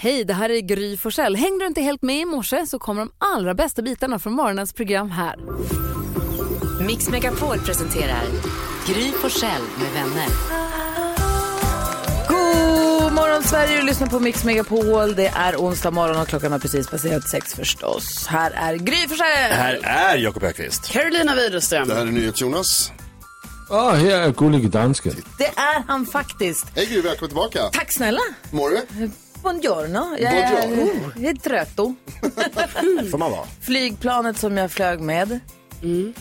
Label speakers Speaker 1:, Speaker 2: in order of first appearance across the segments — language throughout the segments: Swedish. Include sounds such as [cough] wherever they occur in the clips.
Speaker 1: Hej, det här är Gry Forssell. Hängde du inte helt med i morse så kommer de allra bästa bitarna från morgonens program här.
Speaker 2: Mix Megapol presenterar Gry Forssell med vänner.
Speaker 3: God morgon Sverige, du lyssnar på Mix Megapol. Det är onsdag morgon och klockan har precis passerat sex förstås. Här är Gry Forssell.
Speaker 4: Här är Jakob Ökvist.
Speaker 3: Carolina Widerström.
Speaker 5: Det här är NyhetsJonas.
Speaker 6: Ja, Ah, här är gullige dansken.
Speaker 3: Det är han faktiskt.
Speaker 5: Hej Gry, välkommen tillbaka.
Speaker 3: Tack snälla.
Speaker 5: Mår du?
Speaker 3: Buongiorno. Jag är,
Speaker 5: Buongiorno.
Speaker 3: jag är trötto.
Speaker 4: får man vara.
Speaker 3: Flygplanet som jag flög med. Mm.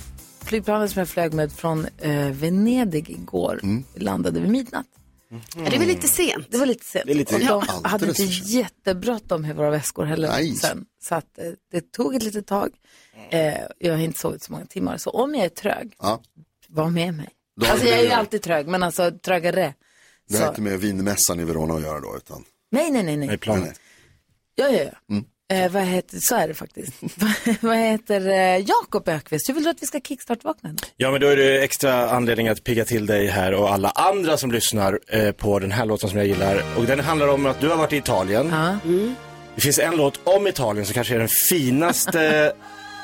Speaker 3: Flygplanet som jag flög med från eh, Venedig igår
Speaker 5: Mm.
Speaker 3: landade vid midnatt.
Speaker 7: Ja, Det var lite sent.
Speaker 3: Det var lite sent.
Speaker 5: Det är lite-
Speaker 3: och
Speaker 5: Ja.
Speaker 3: de hade
Speaker 5: alldeles
Speaker 3: inte
Speaker 5: för sent.
Speaker 3: jättebråttom med våra väskor heller
Speaker 5: Nej.
Speaker 3: sen. Så att, eh, det tog ett litet tag. Eh, jag har inte sovit så många timmar. Så om jag är trög,
Speaker 5: Ja,
Speaker 3: var med mig.
Speaker 5: Då har
Speaker 3: alltså
Speaker 5: du
Speaker 3: jag är ju
Speaker 5: med dig.
Speaker 3: alltid trög, men alltså trögare.
Speaker 5: det här är
Speaker 3: Så.
Speaker 5: inte med vinmässan i Verona att göra då, utan
Speaker 3: Nej, nej, nej, nej.
Speaker 5: planet.
Speaker 3: Ja, ja, ja.
Speaker 5: Mm.
Speaker 3: Eh, vad heter, så är det faktiskt. [laughs] vad heter eh, Jakob Ökvist? Hur vill du att vi ska kickstart-vakna? då?
Speaker 4: Ja, men då är det extra anledning att pigga till dig här och alla andra som lyssnar eh, på den här låten som jag gillar. Och den handlar om att du har varit i Italien.
Speaker 3: Ja.
Speaker 4: Det finns en låt om Italien som kanske är den finaste.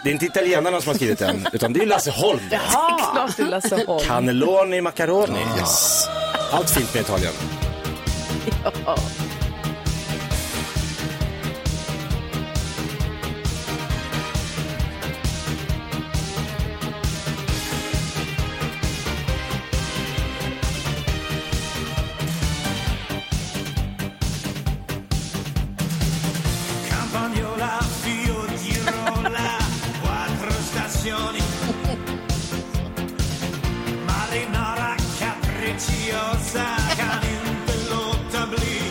Speaker 4: det är inte italienarna som har skrivit den, utan det är Lasse Holm.
Speaker 3: Ah. [laughs] Klart till Lasse Holm.
Speaker 4: Cannelloni macaroni. Yes. Allt fint med Italien.
Speaker 8: Campagnola, Fiorirola, quattro stazioni. Marinara capricciosa, caliente lotta blu.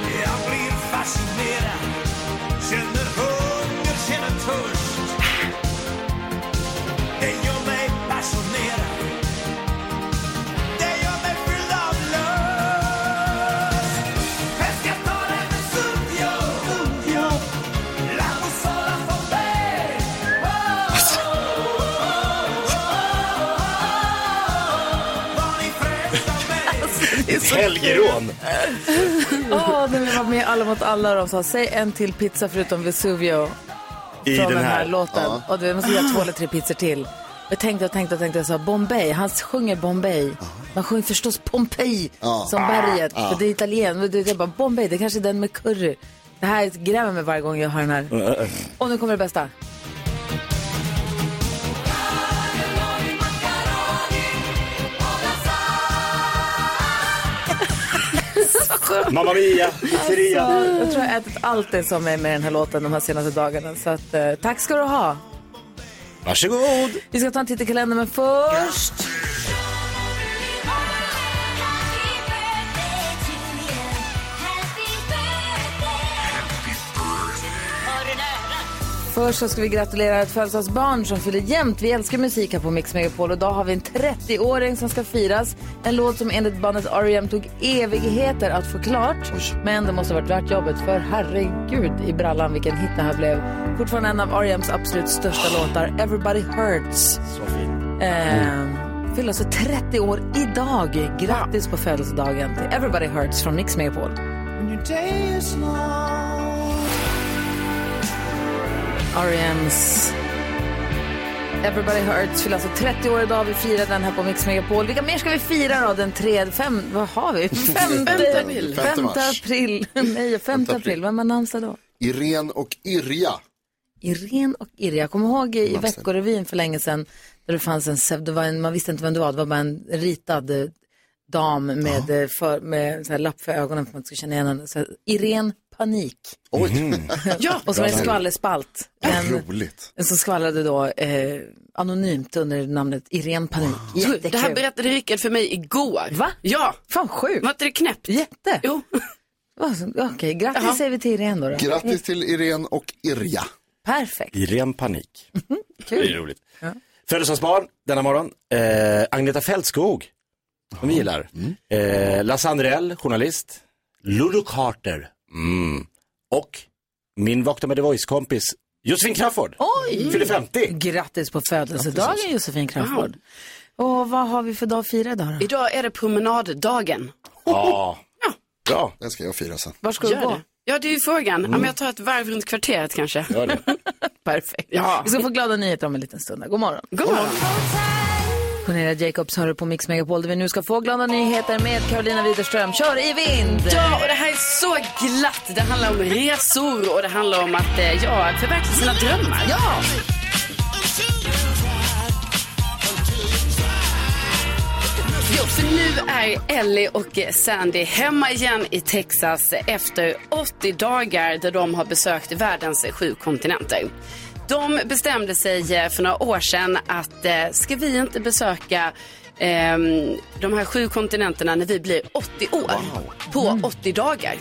Speaker 8: E Jag blir fascinerad, känner hunger, känner törst. Det gör mig passionerad. Det gör mig fylld av lust. Pescatore del Sud, yo, yo. La bussola for me. Var ni frälsta mig?
Speaker 4: Helgerån.
Speaker 3: Åh, när vi Ah, var med i Alla mot alla och de sa säg en till pizza förutom Vesuvio
Speaker 4: I
Speaker 3: från
Speaker 4: den här.
Speaker 3: låten. Och du måste
Speaker 4: [gasps]
Speaker 3: göra två eller tre pizzor till. Jag tänkte och tänkte och tänkte och sa Bombay, han sjunger Bombay. Man sjunger förstås Pompeji som berget, för det är italien. Men det är bara Bombay, det kanske är den med curry. Det här gräver mig varje gång jag hör den här. Och nu kommer det bästa.
Speaker 4: Mamma Mia, pizzeria.
Speaker 3: Ja, Jag tror jag har ätit allt det som är med den här låten de här senaste dagarna. Så att, eh, tack ska du ha.
Speaker 4: Varsågod.
Speaker 3: Vi ska ta en titt i kalendern, men först... Först så ska vi gratulera ett födelsedagsbarn som fyller jämnt. Vi älskar musik här på Mix Megapol och idag har vi en 30-åring som ska firas. En låt som enligt bandet R.E.M. tog evigheter att få klart. Men det måste ha varit värt jobbet för herregud i brallan vilken hit det här blev. Fortfarande en av R.E.M.s absolut största låtar, Everybody Hurts.
Speaker 4: Så fin.
Speaker 3: Ehm, fyller alltså 30 år idag. Grattis på födelsedagen till Everybody Hurts från Mix Megapol. R.E.M.s E Everybody Hurts fyller alltså 30 år idag. Vi firar den här på Mix Megapol. Vilka mer ska vi fira då? Den 3, 5, vad har vi? 5 april.
Speaker 5: Femte
Speaker 3: 5
Speaker 5: mars.
Speaker 3: april. [laughs] Nej, 5 april. Vem har namnsdag då?
Speaker 5: Irene och Irja.
Speaker 3: Irene och Irja. Jag kommer ihåg i Veckorevyn för länge sedan där det fanns en, pseudo- det var en, man visste inte vem det var, det var bara en ritad eh, dam med, eh, för, med så här lapp för ögonen för att man skulle känna igen henne. Så här, Irene Panik.
Speaker 5: Oj,
Speaker 3: och så var det en skvallerspalt.
Speaker 5: vad
Speaker 3: En,
Speaker 5: [laughs] roligt.
Speaker 3: en som skvallrade då eh, anonymt under namnet Irene Panik. Jättekul.
Speaker 7: Det här berättade Rickard för mig igår.
Speaker 3: Va?
Speaker 7: Ja.
Speaker 3: Fan sjukt.
Speaker 7: Var inte det knäppt?
Speaker 3: Jätte.
Speaker 7: Jo.
Speaker 3: Vad så- Okej, grattis
Speaker 7: Jaha.
Speaker 3: säger vi till Irene då. då.
Speaker 5: Grattis till Irene och Irja.
Speaker 3: Perfekt.
Speaker 4: I ren panik. Det är
Speaker 3: Kul.
Speaker 4: roligt. Födelsedagsbarn denna morgon. Eh, Agneta Fältskog, som vi gillar. Eh, Lasse Andrell, journalist. Lulu Carter. Mm. Och min Vakna med The Voice-kompis Josefin Crafoord.
Speaker 3: Oj!
Speaker 4: Fyller 50.
Speaker 3: Grattis på födelsedagen Josefin
Speaker 7: alltså.
Speaker 3: Crafoord. Och vad har vi för dag att fira idag då?
Speaker 7: Idag är det promenaddagen.
Speaker 4: Ja. Bra.
Speaker 5: Den ska jag fira sen.
Speaker 3: Var ska du
Speaker 7: Gör
Speaker 3: gå?
Speaker 7: det. Ja, det är ju frågan. Ja, men jag tar ett varv runt kvarteret kanske.
Speaker 4: Gör det.
Speaker 7: [laughs]
Speaker 3: Perfekt.
Speaker 7: Ja.
Speaker 3: Vi ska få glada nyheter om en liten stund. God morgon.
Speaker 7: God morgon.
Speaker 3: Cornelia Jacobs hör du på Mix Megapol där vi nu ska få glada nyheter med Carolina Widerström. Kör i vind!
Speaker 7: Ja, och det här är så glatt. Det handlar om resor och det handlar om att eh, ja, att förverkliga sina drömmar.
Speaker 3: Ja!
Speaker 7: Jo, för nu är Ellie och eh, Sandy hemma igen i Texas efter 80 dagar där de har besökt världens sju kontinenter. De bestämde sig eh, för några år sedan att eh, ska vi inte besöka ehm, de här sju kontinenterna när vi blir 80 år på 80 dagar.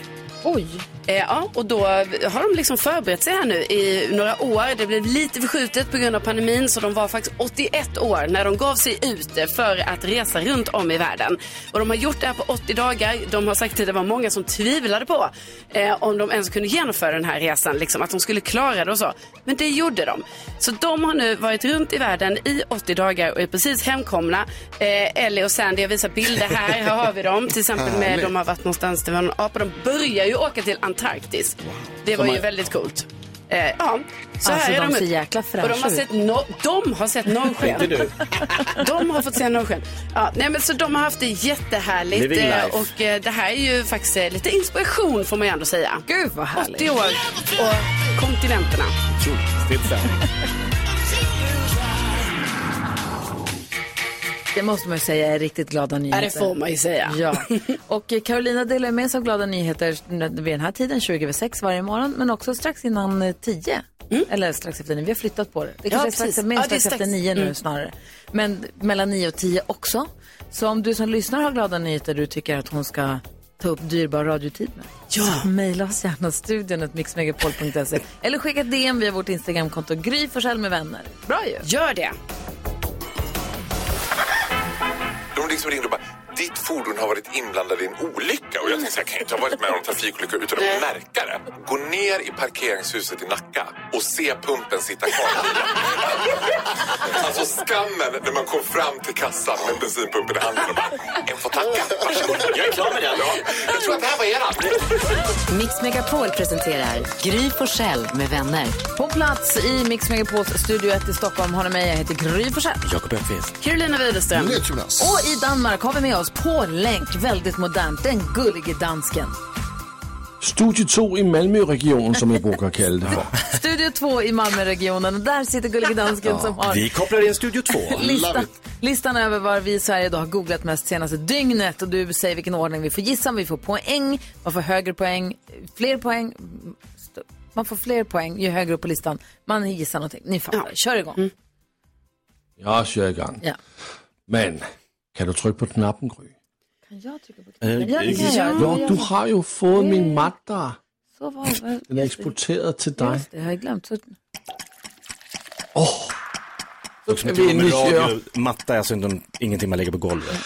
Speaker 3: Oj!
Speaker 7: Eh, ja, och då har de liksom förberett sig här nu i några år. Det blev lite förskjutet på grund av pandemin så de var faktiskt 81 år när de gav sig ut för att resa runt om i världen. Och de har gjort det här på 80 dagar. De har sagt att det var många som tvivlade på eh, om de ens kunde genomföra den här resan, liksom, att de skulle klara det och så. Men det gjorde de. Så de har nu varit runt i världen i 80 dagar och är precis hemkomna. Eh, Ellie och Sandy, jag visar bilder här. Här har vi dem. Till exempel med, de har varit någonstans, det var någon apa. De börjar ju åka till Antarktis. Det var ju väldigt coolt. Eh, ja, så
Speaker 3: Alltså,
Speaker 7: här är
Speaker 3: de
Speaker 7: de
Speaker 3: ser
Speaker 7: ut.
Speaker 3: jäkla
Speaker 7: Och de
Speaker 3: fräscha
Speaker 7: har
Speaker 3: ut.
Speaker 7: sett, no- de har sett norrsken.
Speaker 4: Inte du.
Speaker 7: De har fått se norrsken. Ja, nej, men så de har haft det jättehärligt.
Speaker 4: Living
Speaker 7: eh,
Speaker 4: life.
Speaker 7: Och eh, det här är ju faktiskt eh, lite inspiration får man ju ändå säga.
Speaker 3: Gud vad härligt.
Speaker 7: 80 år och kontinenterna.
Speaker 3: Det måste man ju säga är riktigt glada nyheter.
Speaker 7: Ja, det får man ju säga.
Speaker 3: Ja, [laughs] och Carolina delar med sig av glada nyheter vid den här tiden, 20 över 6 varje morgon, men också strax innan eh, 10. Eller strax efter 9, vi har flyttat på det. Det kanske är strax,
Speaker 7: precis.
Speaker 3: mer
Speaker 7: Mm. Ja, det är
Speaker 3: strax efter
Speaker 7: strax. Mm.
Speaker 3: 9 nu snarare. Men mellan 9 och 10 också. Så om du som lyssnar har glada nyheter du tycker att hon ska ta upp dyrbar radiotid med.
Speaker 7: Ja.
Speaker 3: Så mejla oss gärna studion mixmegapol.se eller skicka ett DM via vårt Instagramkonto Gry Forssell med vänner. Bra ju!
Speaker 7: Gör det.
Speaker 9: De liksom ringde och bara, ditt fordon har varit inblandad i en olycka. Och jag tänkte så här, jag kan ju inte ha varit med om en trafikolycka utan att märka det. Gå ner i parkeringshuset i Nacka och se pumpen sitta kvar. i bilen. alltså skammen när man kom fram till kassan med bensinpumpen i handen och bara, en får tacka. Varsågod, jag är klar med den. Ja, jag tror att det här var eran.
Speaker 2: Mix Megapol presenterar Gry Forssell med vänner.
Speaker 3: På plats i Mix Megapols studio 1 i Stockholm har ni mig, jag heter Gry Forssell.
Speaker 4: Jakob Öqvist.
Speaker 7: Carolina Widerström.
Speaker 5: NyhetsJonas.
Speaker 3: Och i Danmark har vi med oss på länk, väldigt modernt, den gullige dansken.
Speaker 6: Studie 2 i Malmö-regionen, som jag brukar kalla det för.
Speaker 3: Studio 2 i Malmöregionen och där sitter gullige dansken som har
Speaker 4: Vi kopplar in Studio 2.
Speaker 3: listan, listan över vad vi i Sverige idag har googlat mest senaste dygnet. Och du säger vilken ordning vi får gissa, om vi får poäng, man får högre poäng, fler poäng. st- Man får fler poäng ju högre upp på listan man gissar någonting. Ni fattar, kör igång.
Speaker 6: Jag kör igång.
Speaker 3: Ja.
Speaker 6: Men, kan du trycka på knappen, Gry?
Speaker 3: Ja, det kan jag göra.
Speaker 6: Ja, du har ju fått min matta.
Speaker 3: Så var det.
Speaker 6: Den är exporterad till dig.
Speaker 3: Just det, jag har glömt. Så,
Speaker 6: Då kan
Speaker 4: Som inte
Speaker 6: vi
Speaker 4: går med
Speaker 6: nu köra
Speaker 4: radio, matta är alltså inte, ingenting man lägger på golvet.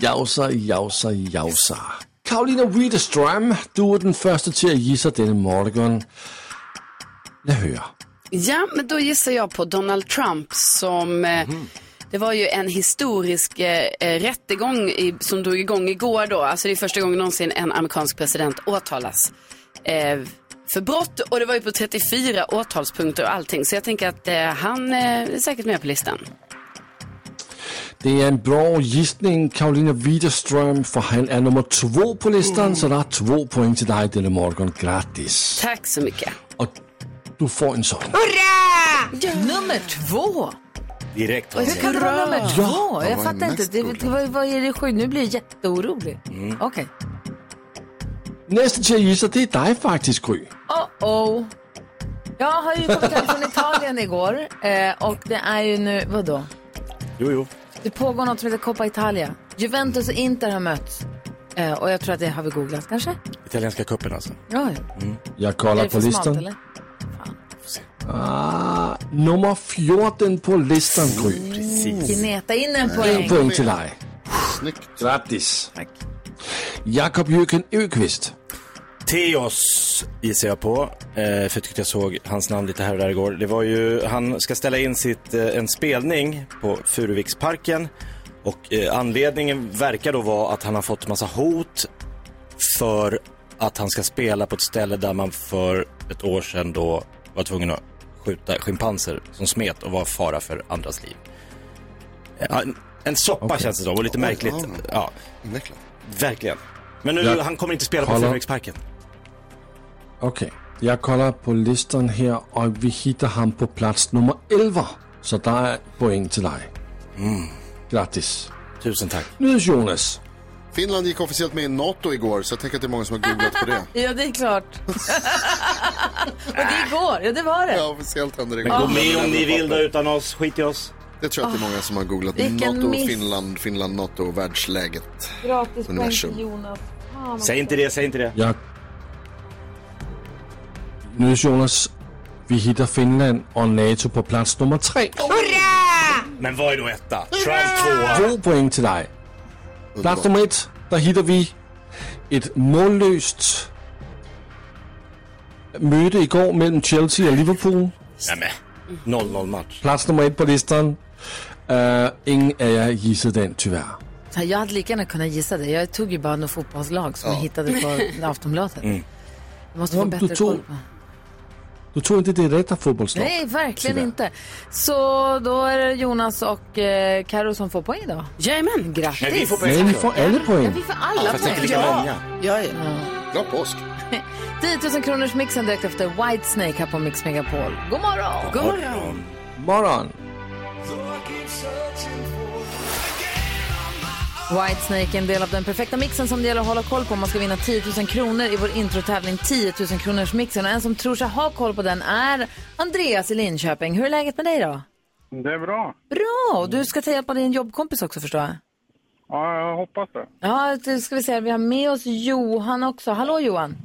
Speaker 6: Jausa, jausa, jausa. Karolina Widerström, du är den första till att gissa denna morgon. Låt höra.
Speaker 7: Ja, men då gissar jag på Donald Trump som... eh, Det var ju en historisk eh, eh, rättegång i, som drog igång igår då. Alltså det är första gången någonsin en amerikansk president åtalas eh, för brott. Och det var ju på 34 åtalspunkter och allting. Så jag tänker att eh, han eh, är säkert med på listan.
Speaker 6: Det är en bra gissning, Karolina Widerström, för han är nummer två på listan, så det är två poäng till dig denna morgon. Grattis!
Speaker 7: Tack så mycket.
Speaker 6: Och du får en sån.
Speaker 3: nummer två!
Speaker 4: Direkt.
Speaker 3: Hur kan det vara nummer två? Jag
Speaker 5: var
Speaker 3: fattar
Speaker 5: den
Speaker 3: inte.
Speaker 5: mest
Speaker 3: Det,
Speaker 5: googla?
Speaker 3: vad, vad är det sju? Nu blir jag jätteorolig. Okej.
Speaker 6: Nästa till att gissa, det är dig faktiskt, Gry.
Speaker 3: Oh-oh. Jag har ju kommit hem från Italien igår eh, och det är ju nu, vadå?
Speaker 4: Jo, jo.
Speaker 3: Det pågår något som heter Coppa Italia. Juventus och Inter har mötts. Eh, och jag tror att det har vi googlat kanske?
Speaker 4: Italienska cupen alltså.
Speaker 3: Ja, ja.
Speaker 6: Jag
Speaker 3: Är
Speaker 6: kollar
Speaker 3: det
Speaker 6: på
Speaker 3: för smalt
Speaker 6: listan.
Speaker 3: eller?
Speaker 6: Ah, nummer 14 på listan, Gry.
Speaker 3: Gneta in en
Speaker 6: En
Speaker 3: poäng.
Speaker 6: poäng till dig.
Speaker 5: Snyggt.
Speaker 6: Grattis! Jakob Jöken Öqvist.
Speaker 4: Theos gissar jag på, eh, för jag tyckte jag såg hans namn lite här och där igår. Det var ju, han ska ställa in sitt, eh, en spelning på Furuviksparken och eh, anledningen verkar då vara att han har fått massa hot för att han ska spela på ett ställe där man för ett år sedan då var tvungen att skjuta schimpanser som smet och var fara för andras liv. Eh, Ja, en- En soppa känns det som och lite märkligt.
Speaker 5: ja.
Speaker 4: Ja,
Speaker 5: Invecklat.
Speaker 4: verkligen. Men nu,
Speaker 6: Ja.
Speaker 4: han kommer inte spela på
Speaker 6: Kolla.
Speaker 4: Fyrverksparken.
Speaker 6: Okay. Jeg kolder på listen her, og vi hitter ham på plads nummer 11. Så der er point til dig. Mm. Grattis.
Speaker 4: Tusen tack.
Speaker 6: Nydes Jonas.
Speaker 5: Finland gick officiellt med i NATO igår, så jag tänker att det är många som har googlat på det.
Speaker 3: Ja, det är klart. och det igår. Ja, det var det.
Speaker 5: Ja, officiellt händer det
Speaker 4: Men gå med om ni vill då utan oss, skit i oss.
Speaker 5: Det tror jag att det är många som har googlat
Speaker 3: Vilken
Speaker 5: NATO,
Speaker 3: miss.
Speaker 5: Finland, Finland, NATO, världsläget.
Speaker 3: Gratis poäng
Speaker 5: Universum.
Speaker 3: till Jonas.
Speaker 4: Säg inte det, säg inte det.
Speaker 6: Jeg... Nydes Jonas. Vi hitter Finland og NATO på plads nummer 3.
Speaker 4: Men vad är då etta? Trump tvåa.
Speaker 6: To point til dig. Plads nummer 1, der hitter vi et målløst møde i går mellem Chelsea og Liverpool.
Speaker 4: Nämen, 0-0 match.
Speaker 6: Plads nummer 1 på listen. Øh, ingen af jer gissede den, tyvärr.
Speaker 3: Jag hade lika gärna kunnat gissa det. Jag tog ju bara något fotbollslag som jag hittade på Aftonbladet. Jag måste få
Speaker 6: Ja, men
Speaker 3: bättre
Speaker 6: du tog-
Speaker 3: koll på.
Speaker 6: Du tror inte det är rätta fotbollslag?
Speaker 3: Nej, verkligen
Speaker 6: Tyvärr.
Speaker 3: inte. Så då är det Jonas och eh, Karo som får poäng idag.
Speaker 7: Jajamän.
Speaker 3: Grattis.
Speaker 4: Men vi får
Speaker 6: Nej, ni
Speaker 4: poäng.
Speaker 6: får alla poäng.
Speaker 3: Vi får alla
Speaker 4: Fast inte
Speaker 3: poäng.
Speaker 4: lika många.
Speaker 7: Ja, ja.
Speaker 5: Glad påsk!
Speaker 3: 10 000 kronors mixen direkt efter Whitesnake här på Mix Megapol. God morgon!
Speaker 7: God morgon.
Speaker 6: Morgon.
Speaker 3: Whitesnake är en del av den perfekta mixen som det gäller att hålla koll på om man ska vinna 10 000 kronor i vår introtävling 10 000 kronors mixen. Och en som tror sig ha koll på den är Andreas i Linköping. Hur är läget med dig då?
Speaker 10: Det är bra.
Speaker 3: Bra! Och du ska ta hjälp av din jobbkompis också förstår jag.
Speaker 10: Ja, jag hoppas det.
Speaker 3: Ja, det ska vi se. Vi har med oss Johan också. Hallå Johan!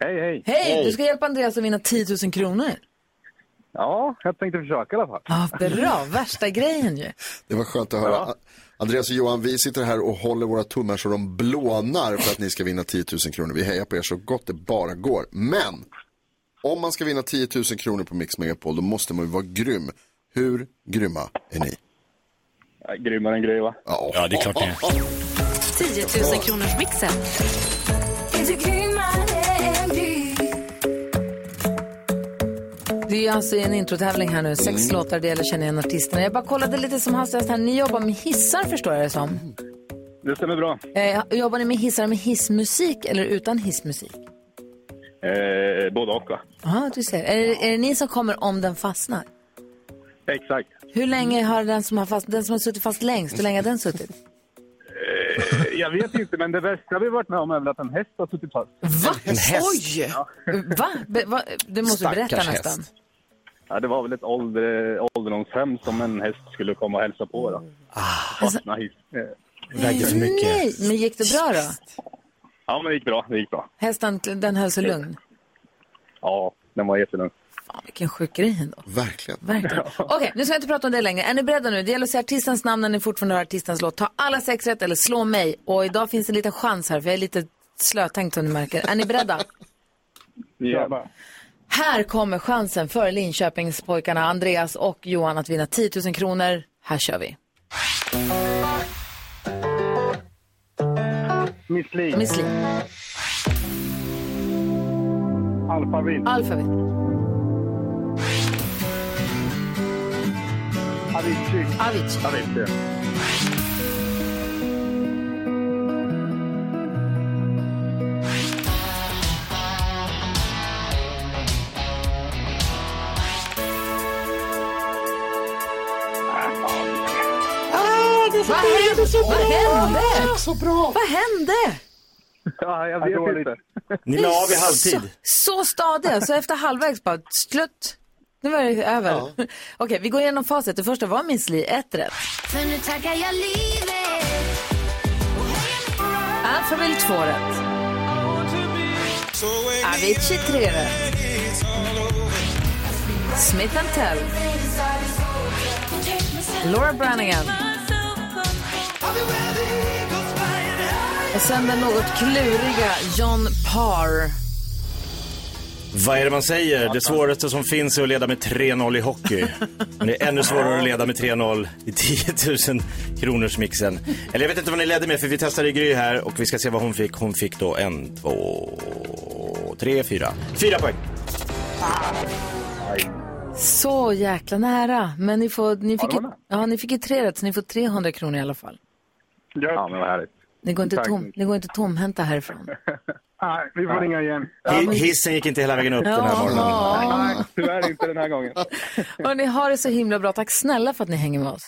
Speaker 10: Hej, hej.
Speaker 3: Hej! Du ska hjälpa Andreas att vinna 10 000 kronor.
Speaker 10: Ja, jag tänkte försöka i alla fall.
Speaker 3: Ja, bra. Värsta grejen ju.
Speaker 5: Det var skönt att höra.
Speaker 10: Ja.
Speaker 5: Andreas och Johan, vi sitter här och håller våra tummar så de blånar för att ni ska vinna 10 000 kronor. Vi hejar på er så gott det bara går. Men om man ska vinna 10 000 kronor på Mix Megapol, då måste man ju vara grym. Hur grymma är ni?
Speaker 10: Ja, grymmare än grej, va?
Speaker 4: Ja, det är klart det är.
Speaker 2: 10 000 kronors mixen.
Speaker 3: Det är alltså en introtävling här nu.
Speaker 4: Mm.
Speaker 3: Sex låtar, det gäller att känna igen artisterna. Jag bara kollade lite som hastigast här. Ni jobbar med hissar förstår jag det som.
Speaker 10: Det stämmer bra.
Speaker 3: Eh, jobbar ni med hissar med hissmusik eller utan hissmusik?
Speaker 10: Eh, både och, va?
Speaker 3: Ja, du ser. Är, det- är det ni som kommer om den fastnar?
Speaker 10: Exakt.
Speaker 3: Hur länge har den som har, fast, den som har suttit fast längst, hur länge har den suttit?
Speaker 10: Eh, Jag vet inte, men det värsta vi varit med om är väl att en häst har suttit fast.
Speaker 3: Va?
Speaker 4: häst.
Speaker 3: Oj! Va? Be, va? Du måste
Speaker 4: Stackars
Speaker 3: berätta
Speaker 4: häst.
Speaker 3: nästan.
Speaker 10: Ja, det var väl ett ålder, ålderdomshem som en häst skulle komma och hälsa på. Då. Fastna hiss. Eh,
Speaker 4: Vägde för mycket.
Speaker 3: Nej, men gick det bra då?
Speaker 10: Ja, men det gick bra. Det gick bra.
Speaker 3: Hästen, den höll sig lugn?
Speaker 10: Ja, den var jättelugn.
Speaker 3: Fan, vilken sjuk grej ändå.
Speaker 5: Verkligen.
Speaker 10: [laughs]
Speaker 3: Verkligen. Okej, nu ska jag inte prata om det längre. Är ni beredda nu? Det gäller att säga artistens namn när ni fortfarande hör artistens låt. Ta alla sex rätt eller slå mig. Och idag finns en liten chans här, för jag är lite slötänkt som ni märker. Är ni
Speaker 10: [laughs]
Speaker 3: beredda?
Speaker 10: Ja.
Speaker 3: här kommer chansen för Linköpingspojkarna Andreas och Johan att vinna 10 000 kronor. Här kör vi.
Speaker 10: Miss Li,
Speaker 3: Miss Li,
Speaker 10: Alphaville,
Speaker 3: Alphavit,
Speaker 10: Avicii.
Speaker 3: Avicii,
Speaker 10: Avicii.
Speaker 3: Vad hände?
Speaker 5: Så bra!
Speaker 3: Vad hände?
Speaker 10: Ja, jag vet inte.
Speaker 4: Ni la av i halvtid.
Speaker 3: Så stadiga, så efter halvvägs bara slut. Nu var det över. [laughs] Okej, vi går igenom facit. Det första var Miss Li, ett rätt.
Speaker 8: För nu tackar jag livet
Speaker 3: Alphaville, två rätt. Avicii, tre rätt. Smith Tell. Laura Branigan. Och sen den något kluriga John Parr.
Speaker 4: Vad är det man säger? Det svåraste som finns är att leda med 3-0 i hockey. Men det är ännu svårare att leda med 3-0 i 10 000 kronors mixen. Eller jag vet inte vad ni ledde med för vi testade Gry här och vi ska se vad hon fick. Hon fick då en, två, tre, fyra. Fyra poäng.
Speaker 3: Så jäkla nära. Men ni, får, ni, fick, ju- ja, ni fick ju tre rätt, så ni får 300 kronor i alla fall.
Speaker 10: Ja, men vad härligt.
Speaker 3: Ni går inte,
Speaker 10: Tack.
Speaker 3: tom, ni går inte tomhänta härifrån.
Speaker 10: Nej, vi får ringa igen.
Speaker 4: Hi- Hissen gick inte hela vägen upp den här
Speaker 3: Ja.
Speaker 4: morgonen.
Speaker 10: Nej, tyvärr inte den här gången.
Speaker 3: Och ni har det så himla bra. Tack snälla för att ni hänger med oss.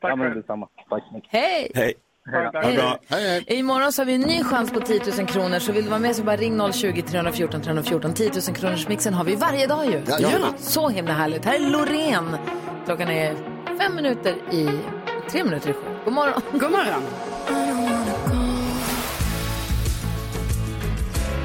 Speaker 10: Ja, men detsamma. Tack så mycket.
Speaker 3: Hej!
Speaker 4: Hej.
Speaker 10: Hej då.
Speaker 4: Ha det bra.
Speaker 3: Imorgon så har vi en ny chans på 10 000 kronor. Så vill du vara med så bara ring 020-314 314. 10 000 kronors mixen har vi varje dag ju.
Speaker 5: Jajamän.
Speaker 3: Så himla härligt. Här är Loreen. Klockan är fem minuter i... Tre minuter i sju. God morgon.
Speaker 7: God morgon.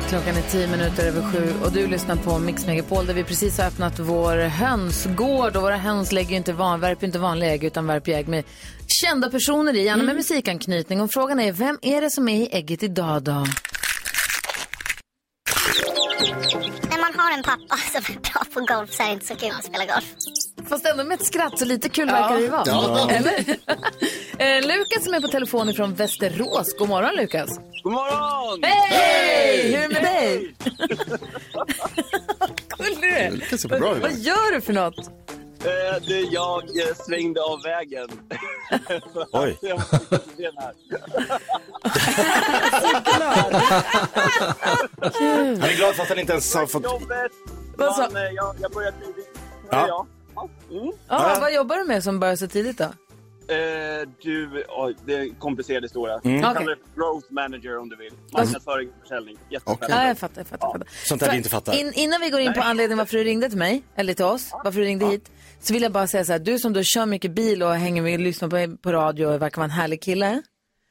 Speaker 3: Klockan är tio minuter över sju och du lyssnar på Mix Megapol där vi precis har öppnat vår hönsgård. Och våra höns lägger ju inte van, värper ju inte vanliga ägg utan värper ju ägg med kända personer i, gärna med musikanknytning. Och frågan är, vem är det som är i ägget idag då?
Speaker 8: När man har en pappa som är bra på golf så är det inte så kul att spela golf.
Speaker 3: Fast ändå med ett skratt, så lite kul verkar det ju vara.
Speaker 5: Ja.
Speaker 3: Eller? [laughs] eh, Lukas som är på telefon från Västerås. God morgon Lukas.
Speaker 11: God morgon!
Speaker 3: Hej! Hur är det med dig? [laughs] Gullig du är.
Speaker 5: Lukas är på bra humör.
Speaker 3: Vad gör du för något?
Speaker 11: Eh, det är jag eh, svängde av vägen. [laughs]
Speaker 4: Oj.
Speaker 11: Jag har fått problem här.
Speaker 4: Han är glad fast han inte ens har [laughs] fått...
Speaker 11: Jobbet!
Speaker 3: Vad sa-
Speaker 11: Fan, eh, jag, jag börjar tidigt.
Speaker 4: Ja.
Speaker 11: Ja. Ja. Mm.
Speaker 3: Ja, Vad jobbar du med som börjar så tidigt då?
Speaker 11: Eh, du, oj, det är en komplicerad historia.
Speaker 4: Mm.
Speaker 11: Du kallar
Speaker 3: Okej.
Speaker 11: det för growth manager om du vill. Marknadsföring och försäljning. Jättespännande.
Speaker 3: Ja, jag fattar. Jag fattar, jag fattar.
Speaker 4: Sånt där vi inte fattar.
Speaker 3: In, innan vi går in på anledningen varför du ringde till mig, eller till oss, varför du ringde hit, så vill jag bara säga så här, du som då kör mycket bil och hänger med och lyssnar på, på radio och verkar vara en härlig kille.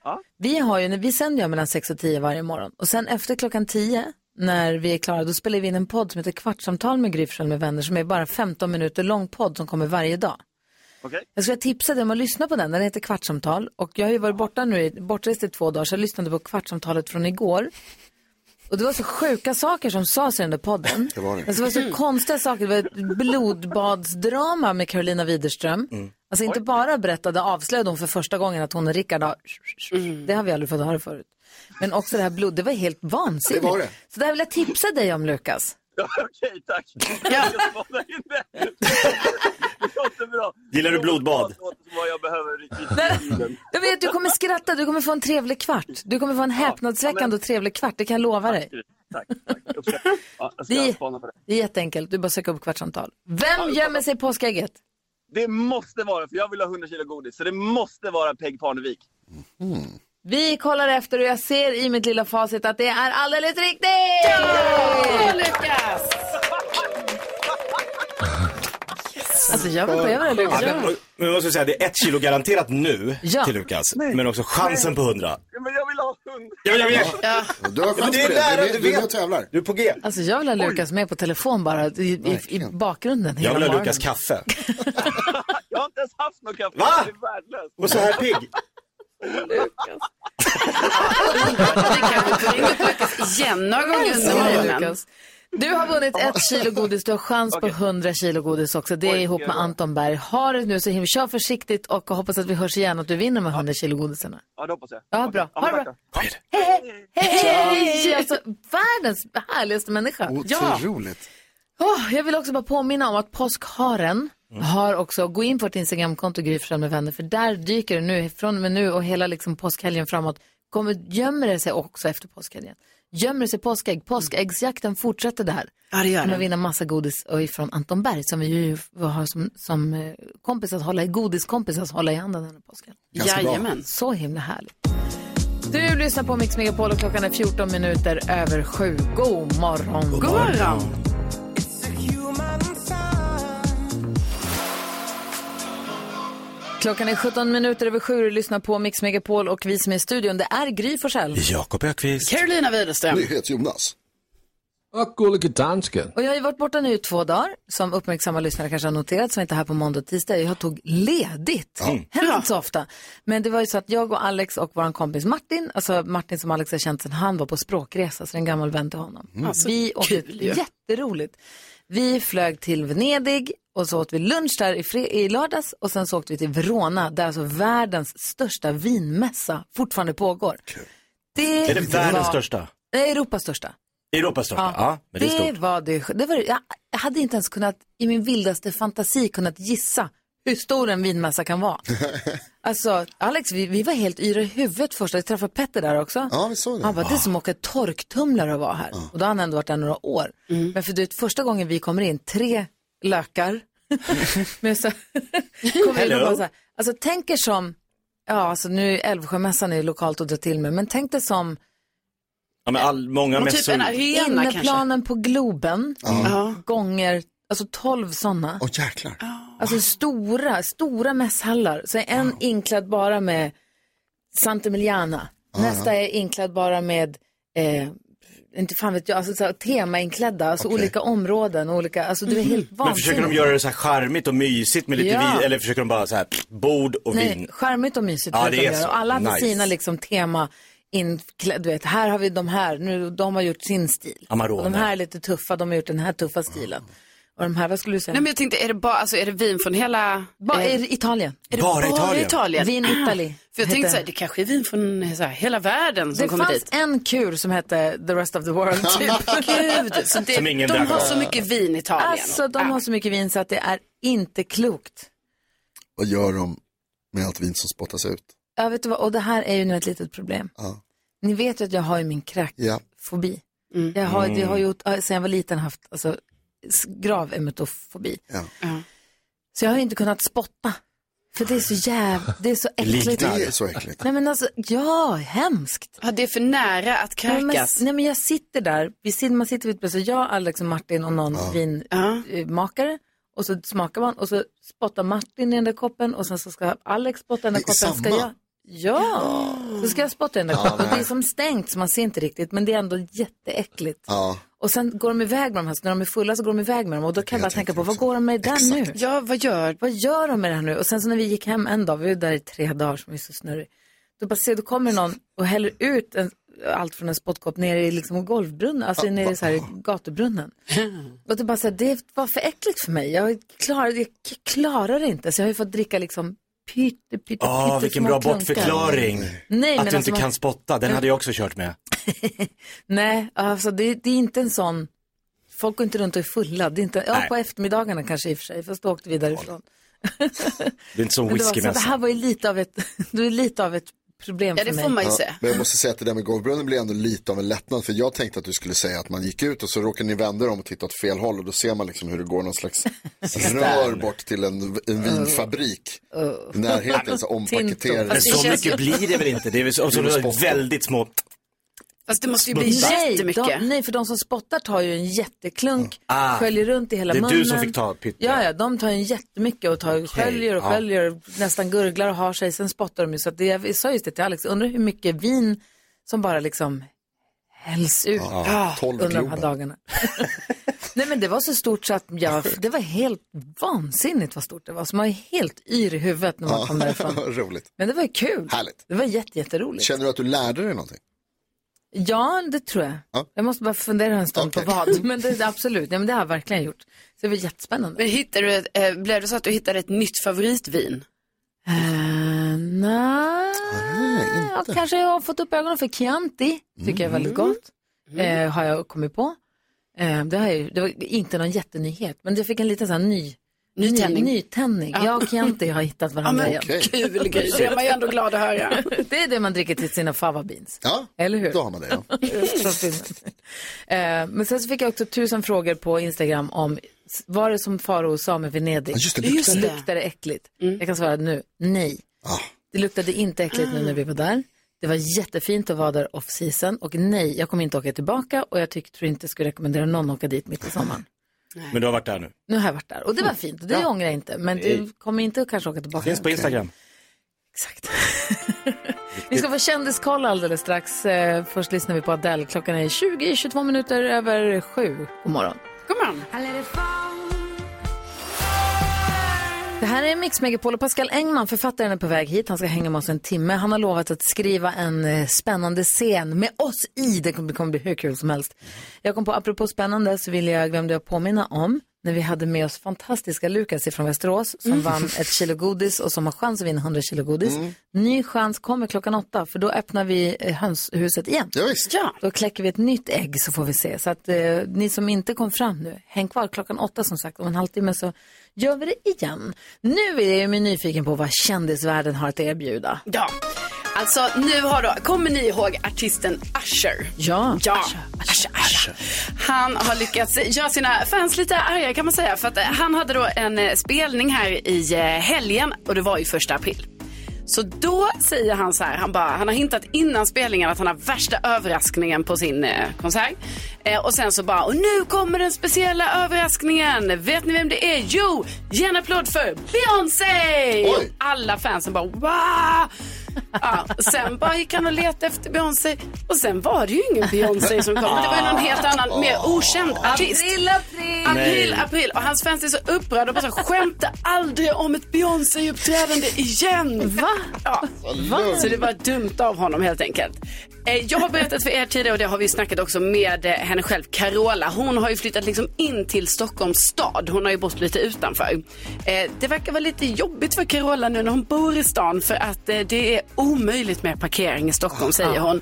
Speaker 11: Ja.
Speaker 3: Vi, har ju, vi sänder ju mellan 6 och 10 varje morgon och sen efter klockan 10 när vi är klara, då spelar vi in en podd som heter Kvartsamtal med Gry Forssell med vänner som är bara 15 minuter lång podd som kommer varje dag.
Speaker 11: Okej.
Speaker 3: Jag skulle tipsa dig om att lyssna på den. Den heter Kvartsamtal. Och jag har ju varit borta nu, i- bortrest i två dagar, så jag lyssnade på Kvartsamtalet från igår. Och det var så sjuka saker som sades i den där podden. Det
Speaker 5: var det.
Speaker 3: Alltså, det var så konstiga saker. Det var ett blodbadsdrama med Carolina Widerström.
Speaker 5: Mm.
Speaker 3: Alltså inte bara berättade, avslöjade hon för första gången att hon och Rickard har... Det har vi aldrig fått höra förut. Men också det här blod, det var helt vansinnigt.
Speaker 5: Det var det.
Speaker 3: Så det här vill jag tipsa dig om, Lukas.
Speaker 11: Okej, tack. Jag ska spana in det. Det låter bra.
Speaker 4: Gillar du blodbad?
Speaker 11: Det låter som vad jag behöver i- i tiden.
Speaker 3: Jag vet, du kommer skratta, du kommer få en trevlig kvart. Du kommer få en häpnadsväckande och trevlig kvart, det kan jag lova dig.
Speaker 11: Tack,
Speaker 3: [laughs]
Speaker 11: tack. Uppskattar. Ja, jag
Speaker 3: Det-
Speaker 11: ska spana på det.
Speaker 3: Det är jätteenkelt, du bara söker upp kvartsamtal. Vem gömmer sig i påskägget?
Speaker 11: Det måste vara, för jag vill ha 100 kilo godis, så det måste vara Peg Parnevik.
Speaker 3: Mm. Vi kollar efter och jag ser i mitt lilla facit att det är alldeles riktigt!
Speaker 7: Lukas!
Speaker 3: Alltså jag vill börja med det Lukas.
Speaker 4: Men, men jag måste säga, det är ett kilo garanterat nu
Speaker 3: Ja.
Speaker 4: till Lukas. Men också chansen på hundra.
Speaker 11: Ja, men jag vill ha 100!
Speaker 4: Ja, jag vet!
Speaker 5: Du har chans
Speaker 4: det är
Speaker 5: på det.
Speaker 4: nära,
Speaker 5: Du,
Speaker 4: du
Speaker 5: är- du är
Speaker 4: vet.
Speaker 5: med och tävlar.
Speaker 4: Du är på G.
Speaker 3: Alltså jag vill ha Lukas med på telefon bara i, i, i
Speaker 5: Verkligen.
Speaker 3: bakgrunden hela
Speaker 4: Jag vill ha
Speaker 3: morgonen.
Speaker 4: Lukas kaffe.
Speaker 11: Jag har inte ens haft någon kaffe.
Speaker 4: Va?
Speaker 11: Det är värdelöst.
Speaker 4: Och så här pigg.
Speaker 7: Vi kanske får [laughs] ringa upp Lukas igen någon gång under
Speaker 3: Ja,
Speaker 7: morgonen.
Speaker 3: Lukas. Du har vunnit ett kilo godis, du har chans på 100 kilo godis också. Det är
Speaker 11: Oj,
Speaker 3: ihop
Speaker 11: gud,
Speaker 3: med
Speaker 11: vad-
Speaker 3: Anton Berg. Ha det nu så himla, kör försiktigt och hoppas att vi hörs igen och att du vinner med 100 kilo godisarna.
Speaker 11: Ja, det hoppas jag.
Speaker 3: Ja, bra.
Speaker 11: men
Speaker 3: Ha det
Speaker 11: tack
Speaker 3: bra.
Speaker 11: då.
Speaker 3: Hej! Alltså, världens härligaste människa.
Speaker 5: Otroligt.
Speaker 3: Åh, jag vill också bara påminna om att påskharen
Speaker 7: Mm.
Speaker 3: har också, gå in på vårt Instagramkonto Gry Forssell med vänner, för där dyker det nu, från och med nu och hela liksom påskhelgen framåt, kommer, gömmer det sig också efter påskhelgen. Gömmer det sig påskägg, påskäggsjakten fortsätter där.
Speaker 7: Ja, det gör
Speaker 3: Kommer
Speaker 7: den.
Speaker 3: vinna massa godis och ifrån Anton Berg som vi ju har som, som eh, kompis att hålla i, godiskompis att hålla i handen den här påsken.
Speaker 5: Ganska bra.
Speaker 7: Jajamän.
Speaker 3: Så himla härligt. Du lyssnar på Mix Megapol och klockan är 14 minuter över sju. God morgon.
Speaker 7: God morgon.
Speaker 3: Klockan är 17 minuter över sju och du lyssnar på Mix Megapol och vi som är i studion, det är Gry Forssell.
Speaker 4: Jakob Ökvist.
Speaker 7: Carolina Widerström.
Speaker 5: Nyhets Jonas.
Speaker 6: Och gullige dansken.
Speaker 3: Och jag har ju varit borta nu i två dagar, som uppmärksamma lyssnare kanske har noterat, som inte är här på måndag och tisdag. Jag tog ledigt.
Speaker 4: Mm.
Speaker 6: Ja.
Speaker 3: Händer inte så ofta. Men det var ju så att jag och Alex och vår kompis Martin, alltså Martin som Alex har känt sedan han var på språkresa, så det är en gammal vän till honom.
Speaker 7: Mm. Alltså,
Speaker 3: vi åkte
Speaker 7: kul ju.
Speaker 3: jätteroligt. Vi flög till Venedig och så åt vi lunch där i, fre- i lördags och sen så åkte vi till Verona där alltså världens största vinmässa fortfarande pågår. Det
Speaker 4: Är det världens
Speaker 3: var-
Speaker 4: största?
Speaker 3: Nej, Europas största.
Speaker 4: Europas största? Ja, men det är
Speaker 3: det
Speaker 4: stort.
Speaker 3: var det. det var, jag, jag hade inte ens kunnat, i min vildaste fantasi, kunnat gissa hur stor en vinmässa
Speaker 4: [laughs]
Speaker 3: kan vara. Alltså, Alex, vi, vi var helt yra i huvudet först. Jag träffade Petter där också.
Speaker 5: Ja, vi såg det.
Speaker 3: Han bara, det är som att åka torktumlare att vara här. Och då har han ändå varit där några år. Men för du vet, första gången vi kommer in, tre
Speaker 4: [laughs]
Speaker 3: lökar. Men så [laughs] kommer in och
Speaker 11: Hello.
Speaker 3: bara så här, alltså tänk er som, ja alltså nu Älvsjömässan är ju lokalt att dra till med, men tänk dig som
Speaker 4: Ja, men all, många
Speaker 3: men
Speaker 7: typ
Speaker 4: mässor.
Speaker 3: Inneplanen på Globen,
Speaker 4: Ja.
Speaker 3: gånger, alltså 12 sådana.
Speaker 5: Åh jäklar.
Speaker 3: Alltså stora, stora mässhallar. Så är en inklädd bara med Santa Emiliana.
Speaker 11: Ja,
Speaker 3: Nästa är inklädd bara med, eh, inte fan vet jag, alltså så här, temainklädda, alltså olika områden och olika, alltså du är helt vansinnigt.
Speaker 4: Mm. Men försöker de göra det så här charmigt och mysigt med lite
Speaker 3: Ja.
Speaker 4: vin, eller försöker de bara så här pff, bord och
Speaker 3: Nej,
Speaker 4: vin?
Speaker 3: charmigt och mysigt
Speaker 4: Ja,
Speaker 3: ja,
Speaker 4: det
Speaker 3: de
Speaker 4: är
Speaker 3: göra.
Speaker 4: så.
Speaker 3: Och alla hade
Speaker 4: Nice.
Speaker 3: sina liksom tema inklädd, du vet, här har vi de här, nu, de har gjort sin stil.
Speaker 4: Amarone.
Speaker 3: Och de här är lite tuffa, de har gjort den här tuffa stilen. Och de här, vad skulle du säga?
Speaker 7: Nej, men jag tänkte, är det, bara, alltså, är det vin från hela...
Speaker 3: Ba- är det Italien.
Speaker 7: Är det bara, Italien?
Speaker 3: Vin Italy.
Speaker 7: För jag
Speaker 3: heter-
Speaker 7: tänkte så här, det kanske är vin från så här, hela världen som
Speaker 3: det
Speaker 7: kommer
Speaker 3: fanns
Speaker 7: dit.
Speaker 3: en kur som hette The Rest of the World. Typ. [laughs]
Speaker 7: Gud, så det,
Speaker 3: Som ingen
Speaker 7: de
Speaker 3: drack
Speaker 7: har
Speaker 3: av.
Speaker 7: så mycket vin i Italien.
Speaker 3: Alltså de har så mycket vin så att det är inte klokt.
Speaker 5: Vad gör de med allt vin som spottas ut?
Speaker 3: Jag vet du vad, och det här är ju nu ett litet problem.
Speaker 5: Ja.
Speaker 3: Ni vet ju att jag har ju min kräk.
Speaker 5: ja.
Speaker 3: fobi. Jag har,
Speaker 5: Mm.
Speaker 3: jag har gjort, äh, sen jag var liten haft alltså, s- grav emetofobi.
Speaker 5: Ja.
Speaker 3: Så jag har ju inte kunnat spotta. För det är så jävla, det är så äckligt.
Speaker 5: Det är så äckligt.
Speaker 3: Nej men alltså, ja, hemskt.
Speaker 7: Ja, det är för nära att
Speaker 3: Nej men,
Speaker 7: kräkas.
Speaker 3: nej, men jag sitter där, vi sitter, man sitter vid ett bord, så jag, Alex och Martin och någon vinmakare. Och så smakar man och så spottar Martin i den där koppen och sen så ska Alex spotta i den där
Speaker 11: I- i
Speaker 3: koppen. Ska
Speaker 11: samma?
Speaker 3: jag, ja, så ska jag spotta i den där
Speaker 11: Ja,
Speaker 3: koppen. Och
Speaker 11: nej.
Speaker 3: det är som stängt så man ser inte riktigt men det är ändå jätteäckligt.
Speaker 5: Ja.
Speaker 3: Och sen går de iväg med de här, så när de är fulla så går de iväg med dem och då kan jag bara tänka på, vad går de med det där nu?
Speaker 7: Ja, vad gör?
Speaker 3: Vad gör de med det här nu? Och sen så när vi gick hem en dag, vi var där i tre dagar som vi är så snurrig, då bara ser, då kommer någon och häller ut en, allt från en spottkopp nere i liksom golvbrunnen, alltså
Speaker 11: Ah,
Speaker 3: nere i
Speaker 11: va-
Speaker 3: så här i gatubrunnen. Och det bara så här, det var för äckligt för mig, jag klarar, jag k- klarar det inte, så jag har ju fått dricka liksom pytte, pytte,
Speaker 4: Ah,
Speaker 3: pytte
Speaker 4: vilken
Speaker 3: små
Speaker 4: bra
Speaker 3: klunkar.
Speaker 4: bortförklaring.
Speaker 3: Nej,
Speaker 4: att
Speaker 3: men
Speaker 4: du
Speaker 3: alltså
Speaker 4: inte
Speaker 3: man-
Speaker 4: kan spotta, den hade jag också kört med.
Speaker 3: Nej, alltså det, det är inte en sån... Folk går inte runt och är fulla. Det är inte, ja,
Speaker 4: Nej.
Speaker 3: på eftermiddagarna kanske i och för sig, fast då åkte vi därifrån.
Speaker 4: Det är inte som
Speaker 3: Men det, var, så, det
Speaker 4: whiskymässa.
Speaker 3: här var ju lite av ett, [laughs] det är lite av ett problem för mig.
Speaker 5: Men jag måste säga att det där med golvbrunnen blev ändå lite av en lättnad. För jag tänkte att du skulle säga att man gick ut och så råkade ni vända er om och titta åt fel håll. Och då ser man liksom hur det går någon [laughs] slags rör bort till en, en vinfabrik. I närheten, så ompaketering. [laughs]
Speaker 4: Men så mycket blir det väl inte? Det är väl så,
Speaker 5: Jo,
Speaker 4: så det
Speaker 5: spottar.
Speaker 4: är väldigt små.
Speaker 7: Fast det måste ju
Speaker 4: bli
Speaker 3: Nej,
Speaker 4: jättemycket.
Speaker 3: de, nej, för de som spottar tar ju en jätteklunk,
Speaker 4: Ah,
Speaker 3: sköljer runt i hela
Speaker 4: det är
Speaker 3: munnen.
Speaker 4: du som fick ta pytte.
Speaker 3: Ja, ja, de tar ju jättemycket och tar, sköljer och
Speaker 4: ja.
Speaker 3: sköljer och nästan gurglar och har sig. Sen spottar de ju. Så att det, jag sa just det till Alex, undrar hur mycket vin som bara liksom hälls ut
Speaker 11: Ja,
Speaker 3: Ah,
Speaker 11: tolv
Speaker 3: under de här
Speaker 11: Globen.
Speaker 3: dagarna. [laughs] Nej men det var så stort så att jag, det var helt vansinnigt vad stort det var. Så man är helt yr i huvudet när man
Speaker 4: [laughs]
Speaker 3: kom därifrån.
Speaker 5: [laughs] Roligt.
Speaker 3: Men det var ju kul.
Speaker 5: Härligt.
Speaker 3: Det var jätte, jätteroligt.
Speaker 5: Känner du att du lärde dig någonting?
Speaker 3: Ja, det tror jag.
Speaker 5: Ja.
Speaker 3: Jag måste bara fundera en stund på vad. Men det, absolut, ja, men det har jag verkligen gjort. Så det var jättespännande.
Speaker 7: Men hittade du, ett, eh, blev det så att du hittade ett nytt favoritvin?
Speaker 3: Eh, nej, jag kanske har fått upp ögonen för Chianti. Tycker jag är väldigt
Speaker 5: Mm.
Speaker 3: gott. Eh, har jag kommit på. Eh, det, har jag, ju- det var inte någon jättenyhet, men jag fick en liten sån här ny
Speaker 7: Nytändning.
Speaker 3: Ny, nytändning.
Speaker 7: Ja.
Speaker 3: Jag och Chianti har hittat
Speaker 7: Ja,
Speaker 3: varandra
Speaker 7: men
Speaker 3: igen.
Speaker 7: okej. Kul grej. Det är man ju ändå glad att [laughs] höra.
Speaker 3: det är det man dricker till sina fava beans.
Speaker 5: Ja,
Speaker 3: Eller hur?
Speaker 5: då har man det. Ja.
Speaker 3: [laughs] Från filmen. Eh, men sen så fick jag också tusen frågor på Instagram om s- var det som Farao sa med Venedig?
Speaker 11: Ja, just det, luktar Ah. Just det. det. Mm.
Speaker 3: Luktar det äckligt? Jag kan svara nu, nej. Det luktade inte äckligt
Speaker 11: Ah.
Speaker 3: nu när vi var där. Det var jättefint att vara där off season och nej, jag kommer inte åka tillbaka och jag tycker, tror inte jag skulle rekommendera någon att åka dit mitt i sommaren.
Speaker 4: Men du har varit där nu.
Speaker 3: Nu har jag varit där och det
Speaker 11: Mm.
Speaker 3: var fint och det
Speaker 4: Ja.
Speaker 3: ångrar jag inte. Men
Speaker 4: Nej.
Speaker 3: du kommer inte att kanske åka tillbaka.
Speaker 4: Finns på Instagram.
Speaker 3: Vi ska få kändiskoll alldeles strax. Eh, Först lyssnar vi på Adele. Klockan är 20-22 minuter över sju. God morgon.
Speaker 7: God morgon.
Speaker 3: Det här är Mix Megapol och Pascal Engman, författaren, är på väg hit. Han ska hänga med oss en timme. Han har lovat att skriva en eh, spännande scen med oss i. Det kommer det kommer bli hur kul som helst. Jag kom på, apropå spännande, så vill jag, glömde jag påminna om när vi hade med oss fantastiska Lukas från Västerås som
Speaker 12: Mm.
Speaker 3: vann ett kilo godis och som har chans att vinna 100 kilo godis. Ny chans kommer klockan åtta för då öppnar vi eh, hönshuset igen.
Speaker 5: Ja,
Speaker 3: Då kläcker vi ett nytt ägg så får vi se. Så att eh, ni som inte kom fram nu, häng kvar klockan åtta som sagt. Om en halvtimme så gör vi det igen. Nu är jag ju nyfiken på vad kändisvärlden har att erbjuda.
Speaker 7: Ja. Alltså nu har då, kommer ni ihåg artisten Usher?
Speaker 3: Ja.
Speaker 7: ja. Usher, Usher. Han har lyckats göra sina fans lite arga kan man säga. För att eh, han hade då en eh, spelning här i eh, helgen och det var ju första april. Så då säger han så här, han, bara, han har hintat innan spelningen att han har värsta överraskningen på sin eh, konsert. Eh, och sen så bara, och nu kommer den speciella överraskningen. Vet ni vem det är? Jo, ge en applåd för Beyoncé! Och Alla fansen bara, wow! Ja, sen bara gick han och letade efter Beyoncé och sen var det ju ingen Beyoncé som kom. Det var ju någon helt annan, mer okänd artist.
Speaker 3: April, april!
Speaker 7: April,
Speaker 11: Nej.
Speaker 7: april. Och hans fans är så upprörda och bara så, skämta aldrig om ett Beyoncé-uppträdande igen. Va? Ja.
Speaker 11: Va?
Speaker 7: Så det var dumt av honom helt enkelt. Eh, Jag har berättat för er tidigare och det har vi snackat också med eh, henne själv, Carola. Hon har ju flyttat liksom in till Stockholms stad. Hon har ju bott lite utanför. Eh, Det verkar vara lite jobbigt för Carola nu när hon bor i stan för att eh, det är omöjligt med parkering i Stockholm säger hon.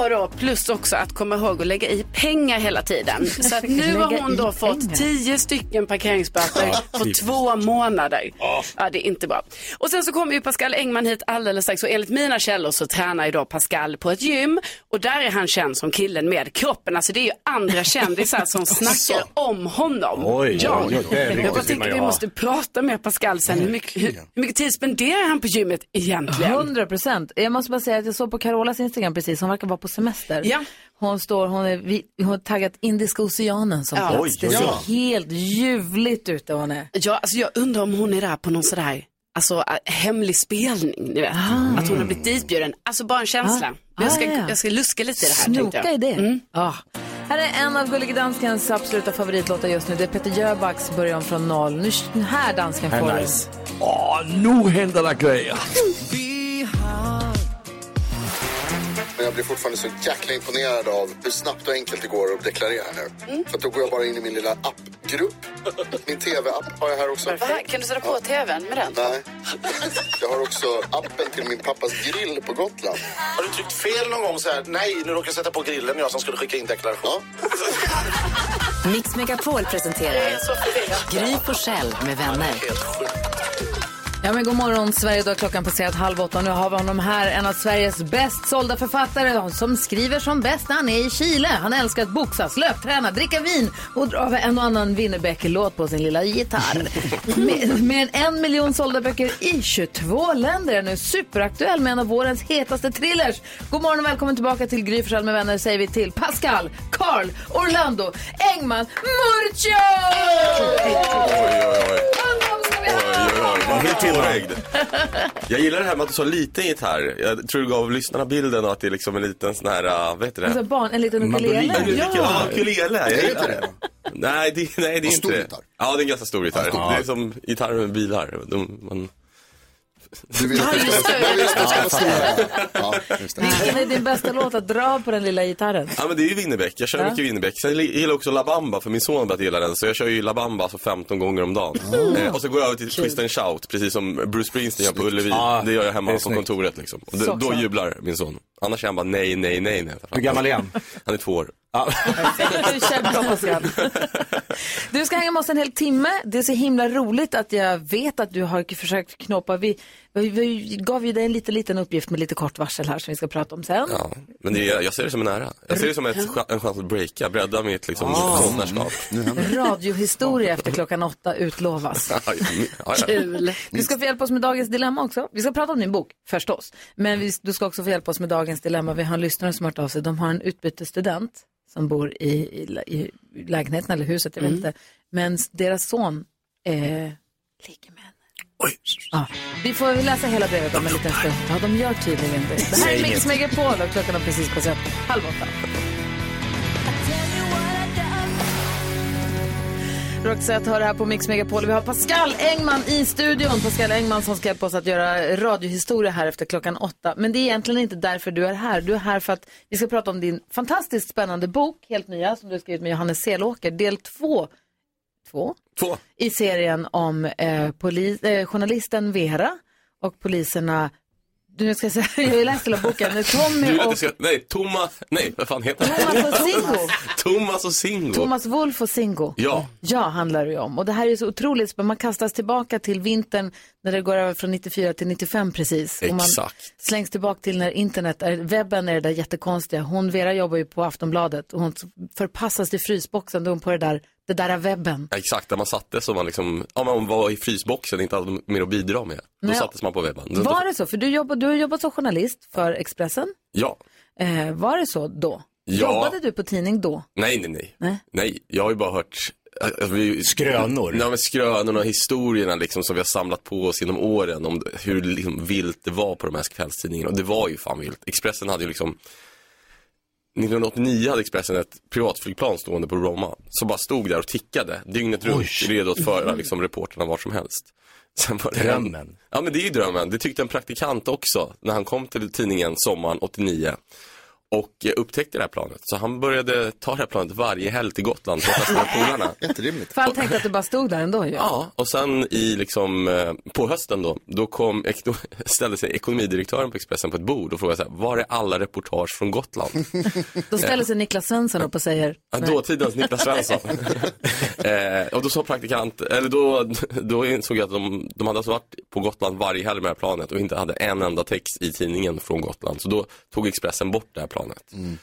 Speaker 7: Och då, plus också att komma ihåg att lägga i pengar hela tiden.
Speaker 11: [laughs]
Speaker 7: Så att nu har
Speaker 11: Lägga
Speaker 7: hon
Speaker 11: i
Speaker 7: då fått
Speaker 11: pengar.
Speaker 7: 10 stycken parkeringsböter
Speaker 11: Ja,
Speaker 7: på
Speaker 11: typiskt.
Speaker 7: två månader. Ja, det är inte bra. Och sen så kommer ju Pascal Engman hit alldeles strax och enligt mina källor så tränar ju då Pascal på ett gym och där är han känd som killen med kroppen. Alltså det är ju andra kändisar
Speaker 11: [laughs]
Speaker 7: som snackar om honom.
Speaker 11: Alltså. Oj,
Speaker 7: ja.
Speaker 11: oj, oj, det är riktigt
Speaker 7: Jag bara
Speaker 11: vill man
Speaker 7: tänker
Speaker 11: ju
Speaker 7: vi
Speaker 11: ha.
Speaker 7: måste prata med Pascal sen. Hur mycket, hur, hur mycket tid spenderar han på gymmet egentligen?
Speaker 3: 100 procent. Jag måste bara säga att jag såg på Carolas Instagram precis, hon verkar vara på semester.
Speaker 7: Ja.
Speaker 3: Hon står, hon, är, vi- hon har taggat Indiska oceanen som
Speaker 7: Ja.
Speaker 3: plats.
Speaker 7: Oj,
Speaker 3: Det
Speaker 7: oj,
Speaker 3: ser
Speaker 7: oj.
Speaker 3: helt ljuvligt ut där hon är.
Speaker 7: Ja, alltså jag undrar om hon är där på någon sådär alltså, äh, hemlig spelning. Ni vet. Att hon har blivit ditbjuden. Alltså bara en känsla. Men jag, ska,
Speaker 3: Ah, ja.
Speaker 7: jag ska luska lite i det här. tänkte
Speaker 3: Snoka
Speaker 7: jag. Mm.
Speaker 3: i det. Ja. Här är en av Gullige Danskens absoluta favoritlåtar just nu. Det är Peter Jöbacks Början från noll. Nu den här dansken får
Speaker 6: Här
Speaker 3: du.
Speaker 6: nice. Åh, nu händer det grejer.
Speaker 5: Men jag blir fortfarande så jäkla imponerad av hur snabbt och enkelt det går att deklarera nu. För att då går jag bara in i min lilla appgrupp. Min tv-app har jag här också.
Speaker 7: Va? Kan du sätta på tvn med den?
Speaker 5: Nej. Jag har också appen till min pappas grill på Gotland.
Speaker 4: Har du tryckt fel någon gång så här? Nej, nu råkar jag sätta på grillen jag som skulle skicka in deklaration.
Speaker 2: Mix Megapol presenterar Gry på själv med vänner.
Speaker 3: Ja, men god morgon Sverige, då har klockan passerat halv åtta och nu har vi honom här, en av Sveriges bäst sålda författare som skriver som bäst när han är i Chile. Han älskar att boxas, löpträna, dricka vin och dra över en och annan Winnerbäck-låt på sin lilla gitarr. Mer, mer än en miljon sålda böcker i 22 länder är nu superaktuell med en av vårens hetaste thrillers. God morgon och välkommen tillbaka till Gry Forssell med vänner säger vi till Pascal, Carl, Orlando, Engman, Murcio!
Speaker 13: Oj, oj, oj. Jag gillar det här med att du sa liten gitarr. Jag tror du gav lyssnarna bilden av att det är liksom en liten sån här, äh, vad heter det?
Speaker 3: Alltså barn, en liten
Speaker 13: Mandolin.
Speaker 3: ukulele.
Speaker 13: Ja, ukulele. Jag gillar det. Nej, det, nej, det är inte det. Ja, det är en ganska stor gitarr.
Speaker 5: Ja.
Speaker 13: Det är som gitarrer med bilar. De, man...
Speaker 3: Vilken är din bästa låt att dra på den lilla gitarren?
Speaker 13: Ja men det är ju Winnerbäck, jag kör
Speaker 3: Ja.
Speaker 13: mycket Winnerbäck. Sen li- gillar jag också La Bamba för min son har börjat gilla den. Så jag kör ju La Bamba alltså 15 gånger om dagen. Eh, och så går jag över till Twist and Shout, precis som Bruce Springsteen gör på Ullevi.
Speaker 4: Ja,
Speaker 13: det gör jag
Speaker 4: Ah, det
Speaker 13: hemma
Speaker 4: är
Speaker 13: på
Speaker 4: snyggt.
Speaker 13: kontoret liksom. Och
Speaker 4: Så
Speaker 13: då, då
Speaker 4: sant.
Speaker 13: jublar min son. Annars är han bara nej, nej, nej. nej.
Speaker 4: Hur gammal är han?
Speaker 13: Han är två år.
Speaker 3: Du känner bra, Pascal. Du ska hänga med oss en hel timme. Det är så himla roligt att jag vet att du har försökt knåpa. Vi, vi, vi gav ju dig en liten, liten uppgift med lite kort varsel här som vi ska prata om sen.
Speaker 13: Ja, men det är, jag ser det som en ära. Jag ser det som ett, cha- en chans att breaka, bredda mitt liksom konstnärskap.
Speaker 3: Mm. Radiohistoria efter klockan åtta utlovas.
Speaker 13: [laughs] Ja, ja, ja.
Speaker 3: Kul. Du ska få hjälpa oss med dagens dilemma också. Vi ska prata om din bok, förstås. Men vi, du ska också få hjälpa oss med dagens dilemma. Vi har en lyssnare som har hört av sig. De har en utbytesstudent som bor i, i, lä- i lägenheten eller huset, jag vet
Speaker 12: Mm.
Speaker 3: inte. Men s- deras son eh, ligger med henne. Ja. Vi får läsa hela brevet om en liten stund. Ja, de gör tydligen det. Det här är
Speaker 11: Säg
Speaker 3: Mix
Speaker 11: inget.
Speaker 3: Megapol och klockan har precis passerat halv åtta. Roxette har det här på Mix Megapol. Vi har Pascal Engman i studion. Pascal Engman som ska hjälpa oss att göra radiohistoria här efter klockan åtta. Men det är egentligen inte därför du är här. Du är här för att vi ska prata om din fantastiskt spännande bok, helt nya, som du har skrivit med Johannes Selåker, del två. Två?
Speaker 13: Två.
Speaker 3: I serien om eh, poli- eh, journalisten Vera och poliserna, nu ska jag säga, [laughs] jag har ju läst hela boken,
Speaker 13: Du
Speaker 3: Tommy
Speaker 13: vill att
Speaker 3: och
Speaker 13: jag ska, nej, Thomas, nej, vad fan heter han?
Speaker 3: Thomas
Speaker 13: [laughs]
Speaker 3: och Singo.
Speaker 13: Thomas och Singo.
Speaker 3: Thomas Wolf och Singo.
Speaker 13: Ja.
Speaker 3: Ja, handlar det ju om. Och det här är ju så otroligt spännande. Man kastas tillbaka till vintern när det går över från 94 till 95 precis. Och man
Speaker 13: Exakt.
Speaker 3: slängs tillbaka till när internet, är, webben är det där jättekonstiga. Hon, Vera jobbar ju på Aftonbladet och hon förpassas till frysboxen då hon på det där, det där är webben.
Speaker 13: Ja, exakt, där man sattes och man liksom, ja man var i frysboxen, inte hade mer att bidra med. Då
Speaker 3: Nej.
Speaker 13: sattes man på webben. Då-
Speaker 3: Var det så? För du, jobbar, du har jobbat som journalist för Expressen.
Speaker 13: Ja.
Speaker 3: Eh, var det så då?
Speaker 13: Ja.
Speaker 3: Jobbade du på tidning då?
Speaker 13: Nej, nej, nej.
Speaker 3: Nej.
Speaker 13: Nej, jag har ju bara hört alltså, vi,
Speaker 4: Skrönor.
Speaker 13: Ja, men skrönorna och historierna liksom, som vi har samlat på oss genom åren om hur liksom, vilt det var på de här kvällstidningarna. Och det var ju fan vilt. Expressen hade ju liksom 1989 hade Expressen ett privatflygplan stående på Bromma som bara stod där och tickade dygnet runt redo att föra liksom, reporterna vart som helst. Sen var det
Speaker 4: Drömmen.
Speaker 13: ja men det är ju drömmen. Det tyckte en praktikant också när han kom till tidningen sommaren 89 och eh, upptäckte det här planet. Så han började ta det här planet varje helg till Gotland för att testa med polarna.
Speaker 5: Jätterimligt.
Speaker 3: För alla tänkte att du bara stod där ändå ju.
Speaker 13: Ja, och sen i liksom, eh, på hösten då, då, kom, ek- då [laughs] ställde sig ekonomidirektören på Expressen på ett bord och frågade så här, var är alla reportage från [laughs] Gotland?
Speaker 3: Då ställer sig Niklas Svensson upp och säger...
Speaker 13: Ja, Dåtidens Niklas Svensson. [laughs] eh, och då sa praktikant, eller då, då insåg jag att de, de hade alltså varit på Gotland varje helg med det här planet och inte hade en enda text i tidningen från Gotland. Så då tog Expressen bort det här planet.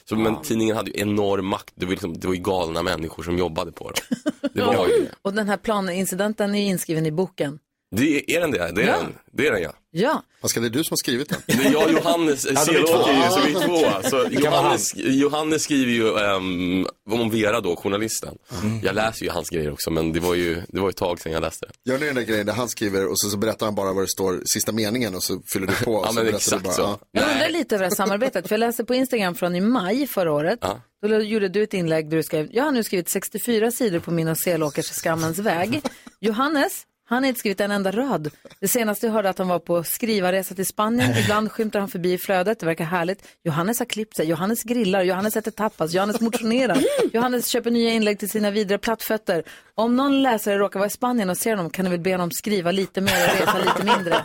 Speaker 13: Så, men tidningen hade ju enorm makt, det var, ju liksom, det var ju galna människor som jobbade på dem. Det var ju det.
Speaker 3: Och den här planincidenten är inskriven i boken.
Speaker 13: Det är den det, det är den, det är den ja.
Speaker 3: Ja.
Speaker 5: Pascal, det är du som har skrivit den.
Speaker 13: Det är jag och Johannes
Speaker 5: Ja, de är två.
Speaker 13: Selåker ju, så vi är två. Så
Speaker 5: Det kan vara
Speaker 13: Johannes, Johannes skriver ju ehm, om Vera då, journalisten.
Speaker 5: Mm.
Speaker 13: Jag läser ju hans grejer också, men det var ju, det var ju ett tag sedan jag läste det.
Speaker 5: Gör ni den där grejen där han skriver och så, så berättar han bara vad det står sista meningen och så fyller du på. Och
Speaker 13: Ja,
Speaker 5: så
Speaker 13: men
Speaker 5: berättar du
Speaker 13: exakt så.
Speaker 5: ja.
Speaker 3: Jag undrar lite över det här samarbetet, för jag läste på Instagram från i maj förra året.
Speaker 5: Ja.
Speaker 3: Då gjorde du ett inlägg där du skrev, jag har nu skrivit 64 sidor på min och selåkers skammens väg. Johannes, han har inte skrivit en enda rad. Det senaste jag hörde att han var på skrivarresa till Spanien. Ibland skymtar han förbi i flödet, det verkar härligt. Johannes har klippt sig, Johannes grillar, Johannes äter tapas, Johannes motionerar. Johannes köper nya inlägg till sina vidare plattfötter. Om någon läsare råkar vara i Spanien och ser honom kan du väl be honom skriva lite mer och resa lite mindre.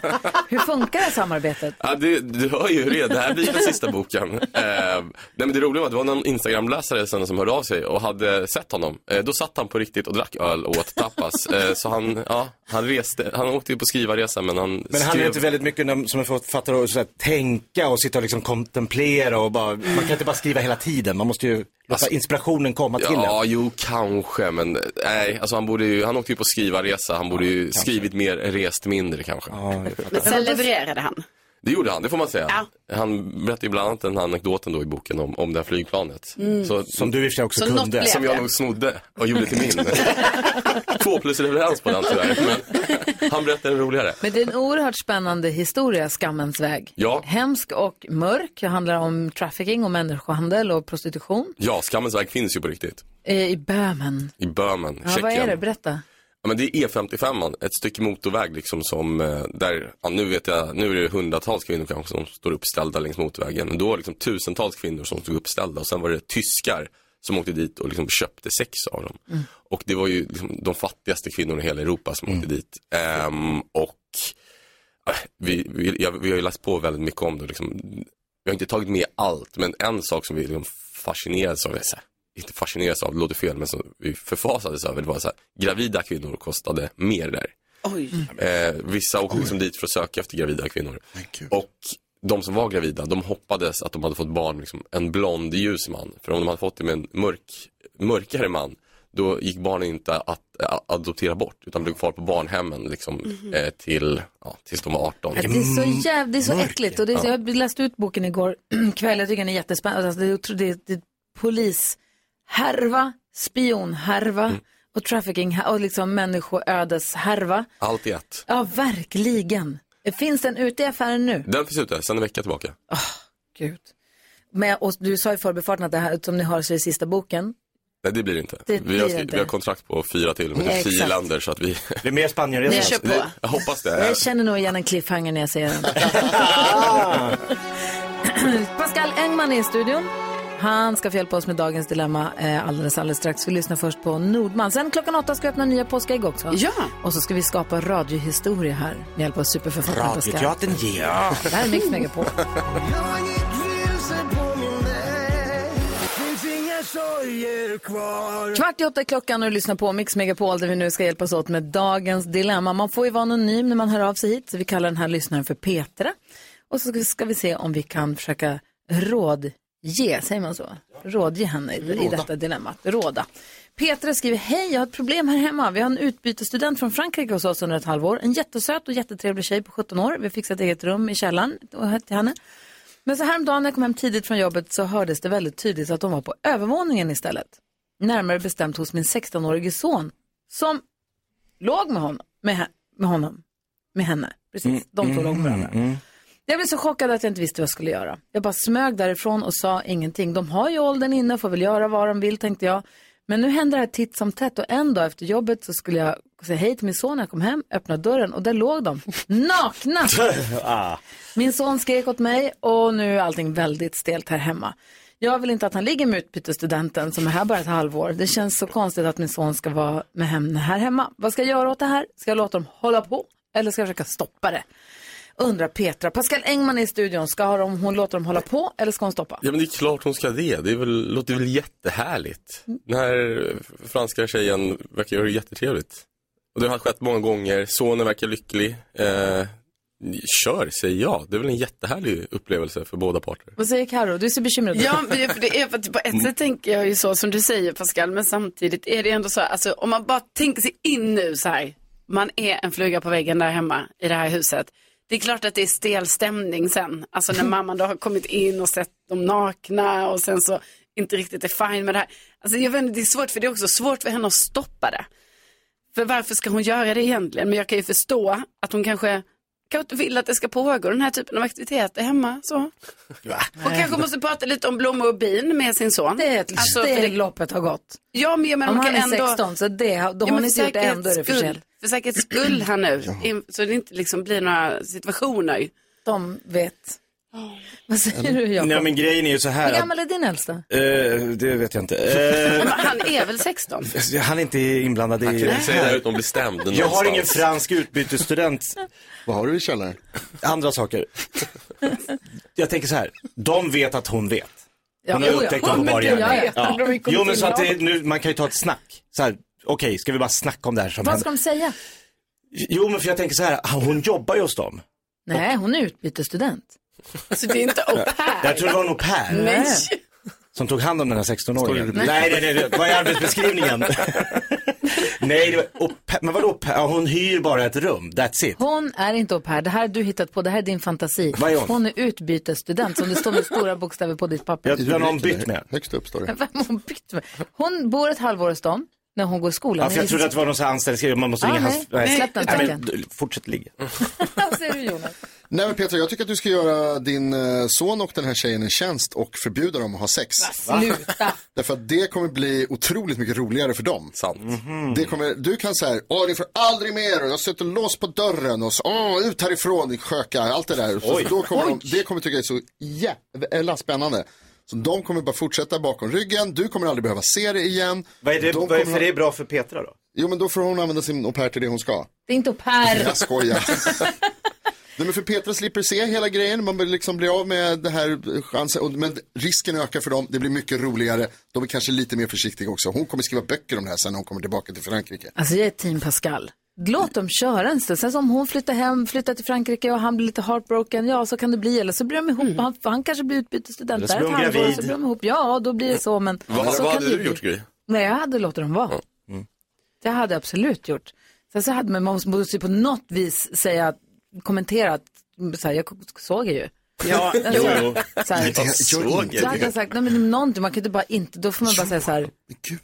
Speaker 3: Hur funkar det här samarbetet?
Speaker 13: Ja, du, du hör ju hur det är. Det här blir den sista
Speaker 5: [laughs]
Speaker 13: boken. Eh, nej, men det roliga var att det var någon Instagram-läsare sen som hörde av sig och hade sett honom. Eh, då satt han på riktigt och drack öl och åt tapas. Eh, så han, ja, han reste, han åkte ju på skrivarresa men han
Speaker 4: Men
Speaker 13: skrev...
Speaker 4: han är inte väldigt mycket när- som en författare att så här, tänka och sitta och liksom kontemplera och bara, man kan inte bara skriva hela tiden, man måste ju låta
Speaker 6: Alltså-
Speaker 4: inspirationen komma till en.
Speaker 13: Ja, jo, kanske, men nej, alltså han borde ju, han åkte ju på skrivarresa, han borde ju skrivit mer, rest mindre kanske.
Speaker 7: Men sen levererade han.
Speaker 13: Det gjorde han, det får man säga. Han berättade ju bland annat den här anekdoten då i boken om, om det här flygplanet.
Speaker 7: Mm.
Speaker 4: Som du i och för sig också
Speaker 7: Så kunde. något blev
Speaker 13: Som jag
Speaker 7: det.
Speaker 13: nog snodde och gjorde till
Speaker 3: [laughs]
Speaker 13: min. Två plus leverans på den tyvärr. Men han berättade en roligare.
Speaker 3: Men det är en oerhört spännande historia, Skammens väg.
Speaker 13: Ja,
Speaker 3: Hemsk och mörk. Det handlar om trafficking och människohandel och prostitution
Speaker 13: ja, Skammens väg finns ju på riktigt.
Speaker 3: eh, i Böhmen.
Speaker 13: I Böhmen,
Speaker 3: Ja,
Speaker 13: Tjeckien.
Speaker 3: vad är det? Berätta.
Speaker 13: Ja, men det är E55, ett stycke motorväg liksom som eh, där, ja, nu vet jag, nu är det hundratals kvinnor kanske som står uppställda längs motorvägen. Men då var det liksom tusentals kvinnor som stod uppställda och sen var det tyskar som åkte dit och liksom köpte sex av dem. Och det var ju liksom de fattigaste kvinnorna i hela Europa som åkte dit. Ehm, och eh, vi, vi, jag, vi har ju läst på väldigt mycket om det. Liksom. Vi har inte tagit med allt, men en sak som vi liksom fascinerades av, eller så här, inte fascinerades av, det låter fel, men som vi förfasades över, det var så här, gravida kvinnor kostade mer där.
Speaker 7: Oj.
Speaker 13: Eh, vissa åkte liksom dit för att söka efter gravida kvinnor. Och de som var gravida, de hoppades att de hade fått barn, liksom, en blond ljus man. För om de hade fått det med en mörk, mörkare man, då gick barnen inte att eh, adoptera bort, utan blev kvar på barnhemmen liksom,
Speaker 3: Mhm.
Speaker 13: eh, till, ja, tills de var 18.
Speaker 3: Det är så, jäv... det är så
Speaker 13: mörk.
Speaker 3: äckligt. Och det är...
Speaker 13: Ja.
Speaker 3: Jag läste ut boken igår [clears throat] kväll. Jag tycker den är
Speaker 13: Mm.
Speaker 3: jättespännande. Alltså, det är, otro- det är, det är polishärva, spionhärva, och trafficking och liksom människoödeshärva.
Speaker 13: Allt i ett.
Speaker 3: Ja, verkligen. Finns den ute i affären nu?
Speaker 13: Den finns ute sedan en vecka tillbaka.
Speaker 3: Gud. Men, och du sa i förbifarten att det här, som ni har så är det sista boken.
Speaker 13: Nej, det blir det inte.
Speaker 3: Det
Speaker 13: vi, har,
Speaker 3: blir
Speaker 13: skri-
Speaker 3: inte.
Speaker 13: vi har kontrakt på fyra till, men det
Speaker 3: Ja,
Speaker 13: är tio
Speaker 3: exakt.
Speaker 13: länder så att vi... Det är
Speaker 4: mer Spanien
Speaker 3: Ni kör på.
Speaker 13: Jag hoppas det.
Speaker 3: Jag känner nog igen en cliffhanger när jag ser den. Pascal Engman är i studion. Han ska få hjälpa oss med dagens dilemma eh, alldeles, alldeles strax. Vi lyssnar först på Nordman. Sen klockan åtta ska vi öppna nya påskägg också.
Speaker 7: Ja.
Speaker 3: Och så ska vi skapa radiohistoria här med hjälp av superförfattaren Pascal.
Speaker 4: Radioteatern ger.
Speaker 3: Ja. Det här är Mix Megapol. Kvart i åtta är klockan och du lyssnar på Mix Megapol där vi nu ska hjälpas åt med dagens dilemma. Man får ju vara anonym när man hör av sig hit så vi kallar den här lyssnaren för Petra. Och så ska vi, ska vi se om vi kan försöka rådge, säger man så? Rådge henne i, i
Speaker 12: Råda.
Speaker 3: detta dilemma. Råda. Petra skriver, hej jag har ett problem här hemma. Vi har en utbytesstudent från Frankrike hos oss under ett halvår. En jättesöt och jättetrevlig tjej på 17 år. Vi har fixat eget rum i källaren och- till henne. Men så häromdagen när jag kom hem tidigt från jobbet så hördes det väldigt tydligt att de var på övervåningen istället. Närmare bestämt hos min 16-årige son som låg med honom, med, he- med honom, med henne. Precis, de två låg med varandra. Jag blev så chockad att jag inte visste vad jag skulle göra. Jag bara smög därifrån och sa ingenting. De har ju åldern inne och får väl göra vad de vill, tänkte jag. Men nu händer det här titt som tätt och en dag efter jobbet så skulle jag säga hej till min son när jag kom hem, öppna dörren och där låg de, [laughs] nakna.
Speaker 4: ah.
Speaker 3: Min son skrek åt mig och nu är allting väldigt stelt här hemma. Jag vill inte att han ligger med utbytesstudenten som är här bara ett halvår. Det känns så konstigt att min son ska vara med henne här hemma. Vad ska jag göra åt det här? Ska jag låta dem hålla på eller ska jag försöka stoppa det? Undrar Petra. Pascal Engman är i studion. Ska ha dem- hon låta dem hålla på eller ska hon stoppa?
Speaker 13: Ja men det är klart hon ska det. Det är väl, låter väl jättehärligt. Den här eh, franska tjejen verkar göra det jättetrevligt. Och det har skett många gånger. Sonen verkar lycklig. Eh, kör, säger jag. Det är väl en jättehärlig upplevelse för båda parter.
Speaker 3: Vad säger Karo? Du ser bekymrad ut.
Speaker 7: Ja, men det- för det är för att på ett sätt tänker jag ju så som du säger Pascal, men samtidigt är det ändå så här, alltså om man bara tänker sig in nu så här, man är en fluga på väggen där hemma i det här huset. Det är klart att det är stel stämning sen, alltså när mamman då har kommit in och sett dem nakna och sen så inte riktigt är fine med det här. Alltså jag vet inte, det är svårt för det är också svårt för henne att stoppa det. För varför ska hon göra det egentligen? Men jag kan ju förstå att hon kanske, kanske inte vill att det ska pågå den här typen av aktiviteter hemma. Så. Och kanske måste prata lite om blommor och bin med sin son.
Speaker 3: Det är ett
Speaker 7: Alltså,
Speaker 3: det
Speaker 7: för det-
Speaker 3: loppet har gått.
Speaker 7: Ja, men jag menar,
Speaker 3: Om
Speaker 7: man
Speaker 3: han
Speaker 7: kan
Speaker 3: är
Speaker 7: ändå...
Speaker 3: 16 så det, har- då har hon
Speaker 7: men
Speaker 3: inte gjort det än, då är det för
Speaker 7: säkerhets
Speaker 3: sent.
Speaker 7: skull- För säkerhets skull här nu, in- så det inte liksom blir några situationer.
Speaker 3: De vet. Vad säger du Jakob?
Speaker 4: Nej men grejen är ju så
Speaker 3: Hur
Speaker 4: här. Att,
Speaker 3: gammal är din äldsta?
Speaker 4: eh, det vet jag inte. Eh,
Speaker 7: Han är väl 16?
Speaker 4: han är inte inblandad i...
Speaker 13: Han kan inte säga det här utan att bli stämd
Speaker 4: Jag har
Speaker 13: någonstans.
Speaker 4: ingen fransk utbytesstudent.
Speaker 5: Vad har du i källaren?
Speaker 4: Andra [laughs] saker. Jag tänker så här, de vet att hon vet.
Speaker 3: Ja,
Speaker 4: Hon
Speaker 3: jo,
Speaker 4: har
Speaker 3: ja.
Speaker 4: upptäckt
Speaker 3: Ja,
Speaker 4: vad hon
Speaker 3: men
Speaker 4: var
Speaker 3: det-
Speaker 4: gärna.
Speaker 3: ja, ja.
Speaker 4: Ja.
Speaker 3: De har ju kommit
Speaker 4: Jo men så att det,
Speaker 3: in
Speaker 4: nu, man kan ju ta ett snack. Så här, okej, ska vi bara snacka om det här som
Speaker 3: Vad ska
Speaker 4: händer?
Speaker 3: de säga?
Speaker 4: Jo men för jag tänker så här, ah, hon jobbar ju hos dem.
Speaker 3: Nej, hon är utbytesstudent.
Speaker 7: Alltså det är inte au pair.
Speaker 4: Jag tror det var en au pair.
Speaker 3: Nej.
Speaker 4: Som tog hand om den här 16-åringen?
Speaker 11: Står
Speaker 4: Nej,
Speaker 11: det-
Speaker 4: nej, nej, nej, vad är [laughs] arbetsbeskrivningen? nej, det var, au pair- men vadå au pair? Ja, Hon hyr bara ett rum, that's it.
Speaker 3: Hon är inte au pair. Det här har du hittat på. Det här är din fantasi.
Speaker 4: Vad är hon?
Speaker 3: är utbytesstudent som det står med stora bokstäver på ditt papper.
Speaker 4: Jag, den har hon bytt med.
Speaker 5: Högst upp står
Speaker 3: Men Vem har hon bytt med? Hon bor ett halvår hos dem när hon går i skolan.
Speaker 4: Ja, för jag trodde att det var någon sån här anställningsgrej, man måste
Speaker 3: Ah,
Speaker 4: ringa
Speaker 3: nej.
Speaker 4: hans...
Speaker 3: Nej, släpp den
Speaker 4: nej, men,
Speaker 3: tanken.
Speaker 4: d- Fortsätt ligga.
Speaker 3: [laughs] Vad säger du Jonas?
Speaker 5: Nej men Petra, jag tycker att du ska göra din eh, son och den här tjejen en tjänst och förbjuda dem att ha sex.
Speaker 3: Va? Sluta!
Speaker 5: Därför att det kommer bli otroligt mycket roligare för dem. Sant.
Speaker 4: Mm.
Speaker 5: Det kommer, du kan säga, åh ni får aldrig mer, och jag sätter lås på dörren och så, åh ut härifrån ni skökar, allt det där. Så
Speaker 11: Oj.
Speaker 5: då kommer de, det kommer tycka är så jävla spännande. Så de kommer bara fortsätta bakom ryggen, du kommer aldrig behöva se det igen.
Speaker 4: Vad är det,
Speaker 5: De
Speaker 4: vad är,
Speaker 5: kommer
Speaker 4: för det är bra för Petra då?
Speaker 5: Jo men då får hon använda sin au pair till det hon ska.
Speaker 3: Det är inte au pair.
Speaker 5: Jag skojar. Nej, men för Petra slipper se hela grejen, man vill liksom bli av med det här chansen. Och- Men risken ökar för dem, det blir mycket roligare. De är kanske lite mer försiktiga också. Hon kommer skriva böcker om det här sen när hon kommer tillbaka till Frankrike.
Speaker 3: Alltså jag är team Pascal. Låt dem köra en stund. Sen så om hon flyttar hem, flyttar till Frankrike och han blir lite heartbroken, ja så kan det bli. Eller så blir de ihop, han, han kanske blir
Speaker 13: Eller
Speaker 3: utbytesstudent
Speaker 13: så
Speaker 3: där
Speaker 13: blir
Speaker 3: ett
Speaker 13: hon
Speaker 3: halvår och så
Speaker 13: gravid.
Speaker 3: blir de ihop. Ja, då blir det så. Men
Speaker 13: Vad,
Speaker 3: så
Speaker 13: vad
Speaker 3: kan
Speaker 13: hade du
Speaker 3: det bli.
Speaker 13: gjort Gry? Mm.
Speaker 3: Nej, jag hade låtit dem vara. Det hade jag absolut gjort. Sen så hade man, man måste ju på något vis säga, kommentera att så här, jag såg er ju.
Speaker 14: [laughs]
Speaker 3: Ja, jo.
Speaker 13: [laughs]
Speaker 3: Så här,
Speaker 11: Jag såg
Speaker 3: Så hade jag sagt, nej men någonting, man kan inte bara inte, då får man bara säga så här,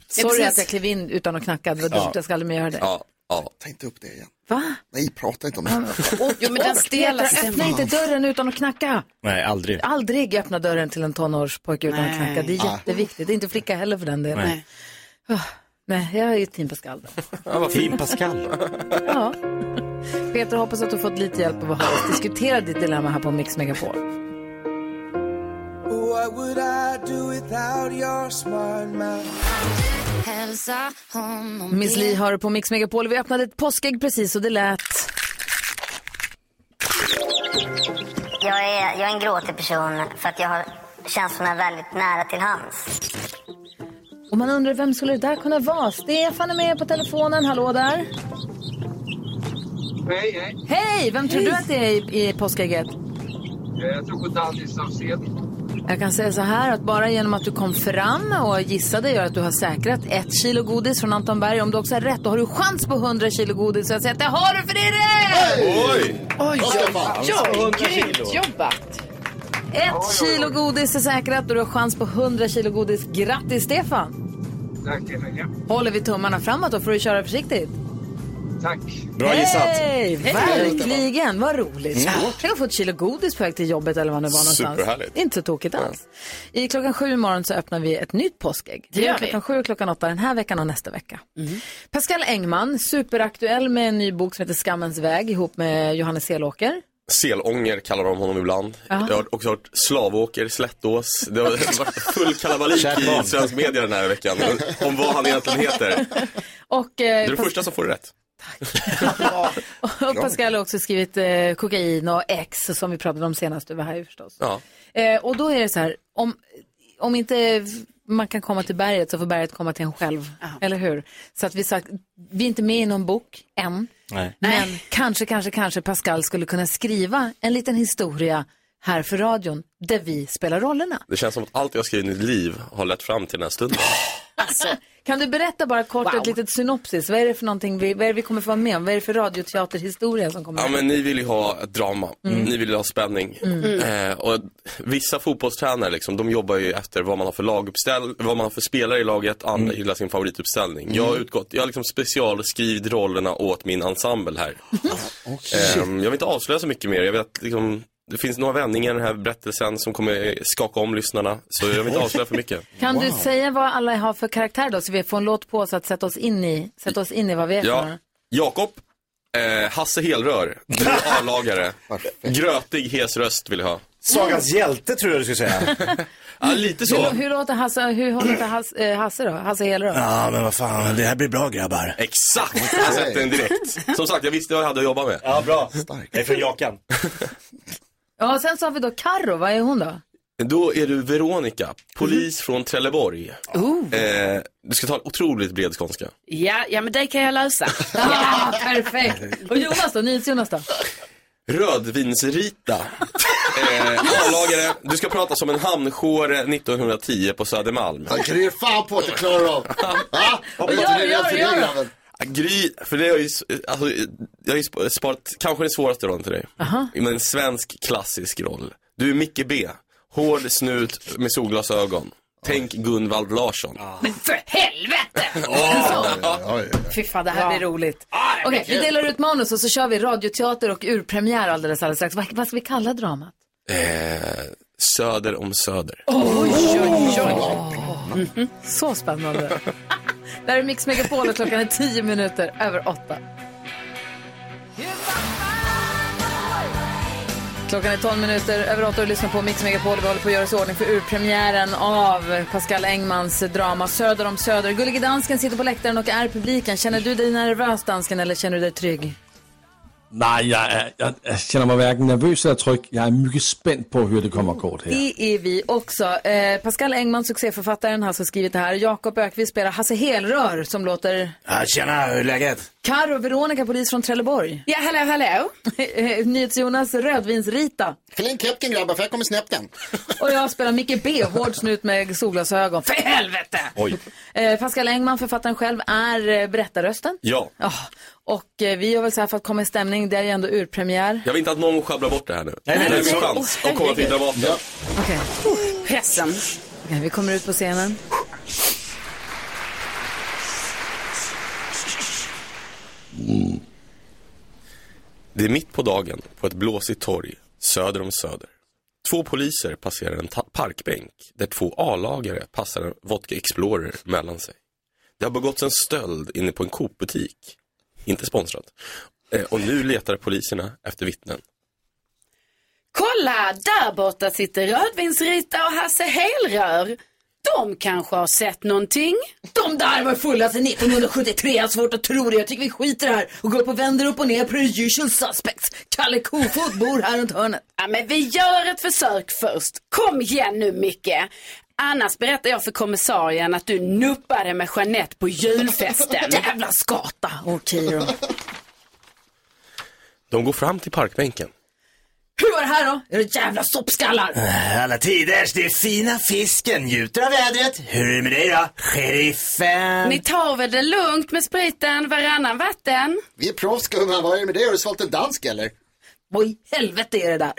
Speaker 3: sorry
Speaker 5: precis.
Speaker 3: att jag klev in utan att knacka, det var dumt,
Speaker 5: Ja.
Speaker 3: jag ska aldrig mer göra det.
Speaker 13: Ja, ja.
Speaker 5: Ta inte upp det igen.
Speaker 3: Va?
Speaker 5: Nej, prata inte om det.
Speaker 7: Jo, men den stela
Speaker 3: Peter, öppna
Speaker 7: stämman.
Speaker 3: inte dörren utan att knacka.
Speaker 4: Nej, aldrig.
Speaker 3: Aldrig öppna dörren till en tonårspojke utan att
Speaker 4: Nej.
Speaker 3: knacka. Det är
Speaker 4: Ah.
Speaker 3: jätteviktigt. Det är inte flicka heller för den delen.
Speaker 4: Nej.
Speaker 3: Ah, Nej, jag är ju team Pascal. då.
Speaker 4: Ja, vad fin Pascal. [laughs]
Speaker 3: Ja. Peter, hoppas att du fått lite hjälp av att höra oss diskutera ditt dilemma här på Mix Megapol.
Speaker 11: What would I do without your smart mouth? Hälsa honom
Speaker 3: Miss Li hör på Mix Megapol. Vi öppnade ett påskägg precis och det lät...
Speaker 8: Jag är, jag är en gråtig person för att jag har känslorna väldigt nära till hands.
Speaker 3: Och man undrar vem skulle det där kunna vara? Stefan är med på telefonen. Hallå där.
Speaker 11: Hej, hej.
Speaker 3: Hej! Vem tror
Speaker 11: Hej.
Speaker 3: du att det är i, i påskägget?
Speaker 11: Jag tror på Danny Saucedo.
Speaker 3: Jag kan säga så här att bara genom att du kom fram och gissade gör att du har säkrat ett kilo godis från Anton Berg. Om du också har rätt då har du chans på 100 kilo godis. Så jag säger att det har du för det är rätt!
Speaker 11: Oj!
Speaker 3: Oj,
Speaker 11: oj,
Speaker 7: grymt jobbat!
Speaker 3: Ett kilo godis är säkrat och du har chans på 100 kilo godis. Grattis Stefan!
Speaker 11: Tack, Elina.
Speaker 3: Håller vi tummarna framåt då får du köra försiktigt.
Speaker 11: Tack.
Speaker 3: Hej! Verkligen, vad roligt.
Speaker 11: Mm.
Speaker 3: Tänk att få ett kilo godis på väg till jobbet eller var det var någonstans.
Speaker 11: Superhärligt.
Speaker 3: Inte så tokigt alls. I klockan sju imorgon så öppnar vi ett nytt påskägg.
Speaker 11: Det gör vi.
Speaker 3: klockan sju och klockan åtta den här veckan och nästa vecka. Pascal Engman, superaktuell med en ny bok som heter Skammens väg ihop med Johannes Elåker.
Speaker 13: Selånger kallar de honom ibland.
Speaker 3: Ja.
Speaker 13: Jag har också hört Slavåker, Slättås. Det
Speaker 3: [laughs]
Speaker 13: har varit full kalabalik i
Speaker 3: Kärnbarn.
Speaker 13: svensk media den här
Speaker 3: [laughs]
Speaker 13: veckan om vad han egentligen heter.
Speaker 3: Och,
Speaker 13: Det
Speaker 3: eh,
Speaker 13: är det
Speaker 3: Pas-
Speaker 13: första som får det rätt.
Speaker 3: och Pascal har också skrivit eh, kokain och X som vi pratade om senast du var här ju förstås.
Speaker 13: Ja.
Speaker 3: Eh, och då är det så här, om, om inte man kan komma till berget så får berget komma till en själv. Eller hur? Så att vi sagt, vi är inte med i någon bok än.
Speaker 4: Nej.
Speaker 3: Men kanske, kanske, kanske Pascal skulle kunna skriva en liten historia här för radion där vi spelar rollerna.
Speaker 13: Det känns som att allt jag har skrivit i mitt liv har lett fram till den här stunden.
Speaker 3: Kan du berätta bara kort ett litet synopsis? Vad är det för någonting vi, vad är det vi kommer få vara med om? Vad är det för radioteaterhistoria som kommer?
Speaker 13: Ja men ni vill ju ha ett drama, ni vill ju ha spänning.
Speaker 3: Mm.
Speaker 13: Eh, och vissa fotbollstränare liksom, de jobbar ju efter vad man har för laguppställ, vad man har för spelare i laget, andra gillar sin favorituppställning. Jag har utgått, jag har liksom specialskrivit rollerna åt min ensemble här. Ehm, jag vill inte avslöja så mycket mer, jag vet att liksom, det finns några vändningar i den här berättelsen som kommer skaka om lyssnarna, så jag vill inte avslöja för mycket.
Speaker 3: Kan du säga vad alla har för karaktär då? Så vi får en låt på oss att sätta oss in i, sätta oss in i vad vi är för
Speaker 13: Ja,
Speaker 3: några.
Speaker 13: Jakob, eh, Hasse Helrör, du [laughs] är A-lagare. Grötig, hes röst vill jag ha.
Speaker 4: Sagans hjälte tror jag du skulle [laughs] säga.
Speaker 13: Mm. ja, lite
Speaker 3: Hur, hur låter Hasse, hur låter Hasse, eh, Hasse då? Hasse Helo då?
Speaker 4: Ja, men vad fan, det här blir bra grabbar.
Speaker 13: [laughs] Exakt, jag sätter den direkt. Som sagt, jag visste vad jag hade att jobba med.
Speaker 4: Ja, bra. Jag är från Jakan.
Speaker 3: Ja, och sen så har vi då Carro, vad är hon då?
Speaker 13: Då är du Veronica, polis från Trelleborg. Eh, du ska ta otroligt bred skånska.
Speaker 7: Ja, ja, men det kan jag
Speaker 3: [laughs]
Speaker 7: lösa.
Speaker 3: Ja, perfekt. Och Jonas då, NyhetsJonas då?
Speaker 13: Rödvinsrita. [laughs] Eh, A-lagare, du ska prata som en hamnsjåre 1910 på Södermalm.
Speaker 5: Han kan du ge fan på att du klarar av. Va?
Speaker 13: Och gör det, gör det, gör det. Ja, Gry, för det har ju, s- alltså, jag har ju sp- sparat kanske den svåraste rollen till dig. Men en svensk klassisk roll. Du är Micke B. Hård snut med solglasögon. Tänk Gunvald Larsson.
Speaker 3: Men för helvete! Fy fan, det här blir roligt. Okej, vi delar ut manus och så kör vi radioteater och urpremiär alldeles, alldeles strax. Vad, vad ska vi kalla dramat?
Speaker 13: Eh, söder om Söder.
Speaker 3: Oj, oj, oj. Mhm. Så spännande. Där är Mix Megapol och klockan är tio minuter över åtta. Klockan är 12 minuter över åtta och du lyssnar på Mix Megapol. Vi håller på att göra oss i ordning för urpremiären av Pascal Engmans drama Söder om Söder. Gullige dansken sitter på läktaren och är publiken. Känner du dig nervös dansken eller känner du dig trygg?
Speaker 6: Nej, jeg, er, jeg, jeg kender mig hverken nervøs eller tryg. Jeg er mygge spændt på at høre, det kommer kort her.
Speaker 3: Det är vi också. Eh, Pascal Engman, succéförfattaren, har så skrivit det här. Jakob Ökvist spelar Hasse Helrör som låter...
Speaker 4: Ja, tjena, hur är läget?
Speaker 3: Karo, Veronica, polis från Trelleborg.
Speaker 7: Ja, hallå, hallå.
Speaker 3: [laughs] NyhetsJonas Rödvinsrita.
Speaker 12: Kling käpken grabbar, för här kommer snäppten.
Speaker 3: Och jag spelar Micke B, hård snut med solglasögon. För helvete!
Speaker 4: Oj.
Speaker 3: Eh, Pascal Engman, författaren själv, är eh, berättarrösten.
Speaker 13: Ja.
Speaker 3: Ja. Och eh, vi gör väl så här för att komma i stämning, det är ju ändå urpremiär.
Speaker 13: Jag vill inte att någon sjabblar bort det här nu.
Speaker 3: Nej, nej,
Speaker 13: det är
Speaker 3: nej.
Speaker 13: en chans
Speaker 3: Åh,
Speaker 13: att komma till
Speaker 3: herregud.
Speaker 13: Dramaten.
Speaker 3: Okej.
Speaker 7: Pressen.
Speaker 3: Okej, vi kommer ut på scenen.
Speaker 13: Det är mitt på dagen på ett blåsigt torg söder om Söder. Två poliser passerar en ta- parkbänk där två A-lagare passar en Vodka Explorer mellan sig. Det har begåtts en stöld inne på en Coop-butik. Inte sponsrat. Eh, Och nu letar poliserna efter vittnen.
Speaker 7: Kolla, där borta sitter Rödvinsrita och Hasse Helrör. De kanske har sett någonting.
Speaker 3: De där var fulla sedan 1973, jag har svårt att tro det. Jag tycker vi skiter i det här och går upp och vänder upp och ner på the usual suspects. Kalle Kofot bor här runt hörnet.
Speaker 7: Ja, men vi gör ett försök först. Kom igen nu Micke. Annars berättar jag för kommissarien att du nuppade med Jeanette på julfesten.
Speaker 3: [laughs] Jävla skata! Okej då.
Speaker 13: De går fram till parkbänken.
Speaker 3: Hur var det här då? Är det jävla soppskallar?
Speaker 14: Alla tiders, det är fina fisken, njuter av vädret. Hur är det med dig då, sheriffen?
Speaker 7: Ni tar väl det lugnt med spriten varannan vatten?
Speaker 12: Vi är proffs gumman, vad är det med det? Har du svalt en dansk eller?
Speaker 3: Vad i helvete är det där?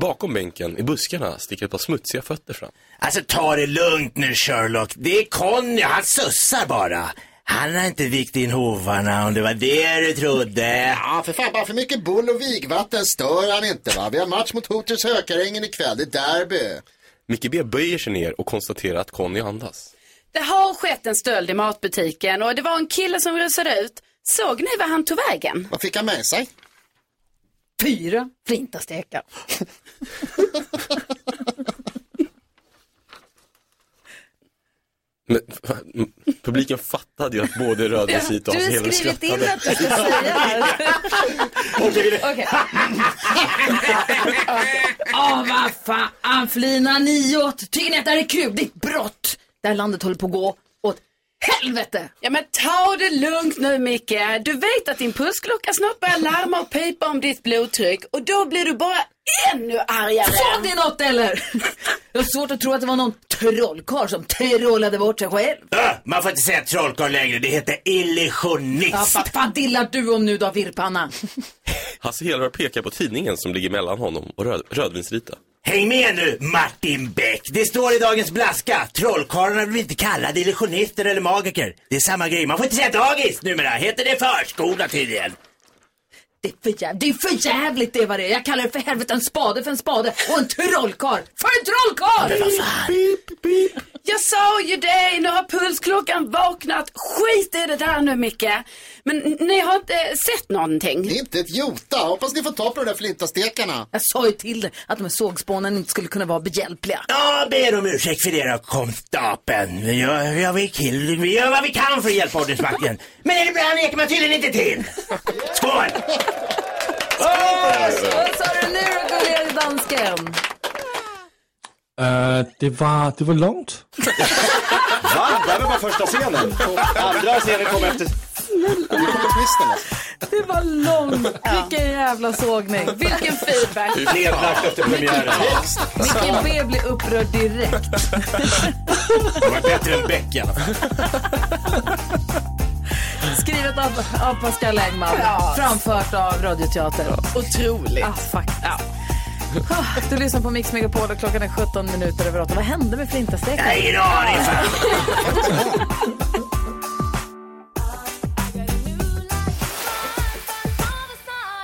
Speaker 13: Bakom bänken i buskarna sticker ett par smutsiga fötter fram.
Speaker 14: Alltså ta det lugnt nu Sherlock. Det är Conny, han sussar bara. Han har inte vikt in hovarna om det var det du trodde.
Speaker 12: Ja, för fan, bara för mycket bull och vigvatten stör han inte va. Vi har match mot Hooters Hökarängen ikväll, det är derby.
Speaker 13: Micke B böjer sig ner och konstaterar att Conny andas.
Speaker 7: Det har skett en stöld i matbutiken och det var en kille som rusade ut. Såg ni vad han tog vägen?
Speaker 12: Vad fick han med sig?
Speaker 3: Fyra flintastekar.
Speaker 13: Men, [laughs] m- publiken fattade ju att både Rödvinsrita och
Speaker 3: Du
Speaker 13: Hans
Speaker 3: har
Speaker 13: Hedlund
Speaker 3: skrivit
Speaker 13: skrattade.
Speaker 3: in att du ska säga det här. Okej. [laughs] Åh, vad fan. Flinar ni åt? Tycker ni att det här är kul? Det är ett brott. Det här landet håller på att gå åt helvete.
Speaker 7: Ja men ta det lugnt nu Micke. Du vet att din pussklocka snart börjar larma och pipa om ditt blodtryck och då blir du bara ännu argare.
Speaker 3: Sa det något eller? Jag har svårt att tro att det var någon trollkarl som trollade bort sig själv.
Speaker 14: Äh, man får inte säga trollkarl längre, det heter
Speaker 3: Ja,
Speaker 14: illusionist.
Speaker 3: vad fan dillar du om nu då, virrpanna?
Speaker 13: Hasse Helrör pekar på tidningen som ligger mellan honom och röd, Rödvinsrita.
Speaker 14: Häng med nu Martin Beck. Det står i dagens blaska. Trollkarlarna blir inte kallade illusionister eller magiker. Det är samma grej. Man får inte säga dagis numera. Heter det förskola tydligen.
Speaker 3: Det är för jävligt, det är för jävligt det var det är. Jag kallar det för helvete en spade för en spade och en trollkarl för en trollkarl!
Speaker 7: Jag sa ju det, nu har pulsklockan vaknat. Skit i det där nu Micke. Men n- ni har inte eh, sett någonting?
Speaker 12: Inte ett jota, hoppas ni får ta på de där flintastekarna.
Speaker 3: Jag sa ju till dig att de här sågspånen inte skulle kunna vara behjälpliga.
Speaker 14: Jag ber om ursäkt för det då, konstapeln. Vi gör, vi gör, vi kill- vi gör vad vi kan för att hjälpa ordningsmakten. Men ibland leker man tydligen inte till. Skål!
Speaker 3: Vad sa du nu då, gulliga dansken?
Speaker 6: Øh, det, var, det var långt.
Speaker 4: Va? Det här var bara första scenen. Andra scenen kom efter.
Speaker 3: Det var långt. Vilken jävla sågning. Vilken feedback.
Speaker 4: Nedlagt efter premiären.
Speaker 3: Vilken B blir upprörd direkt.
Speaker 14: Det var bättre än Beck i alla fall.
Speaker 3: Skrivet av, av Pascal Engman.
Speaker 7: Ja.
Speaker 3: Framfört av Radioteatern. Otroligt. Ah, fuck. Ja. Ah, Du lyssnar på Mix Megapol och klockan är 17 minuter över 8. Vad hände med flintasteken?
Speaker 14: Nej, ingen aning, fan.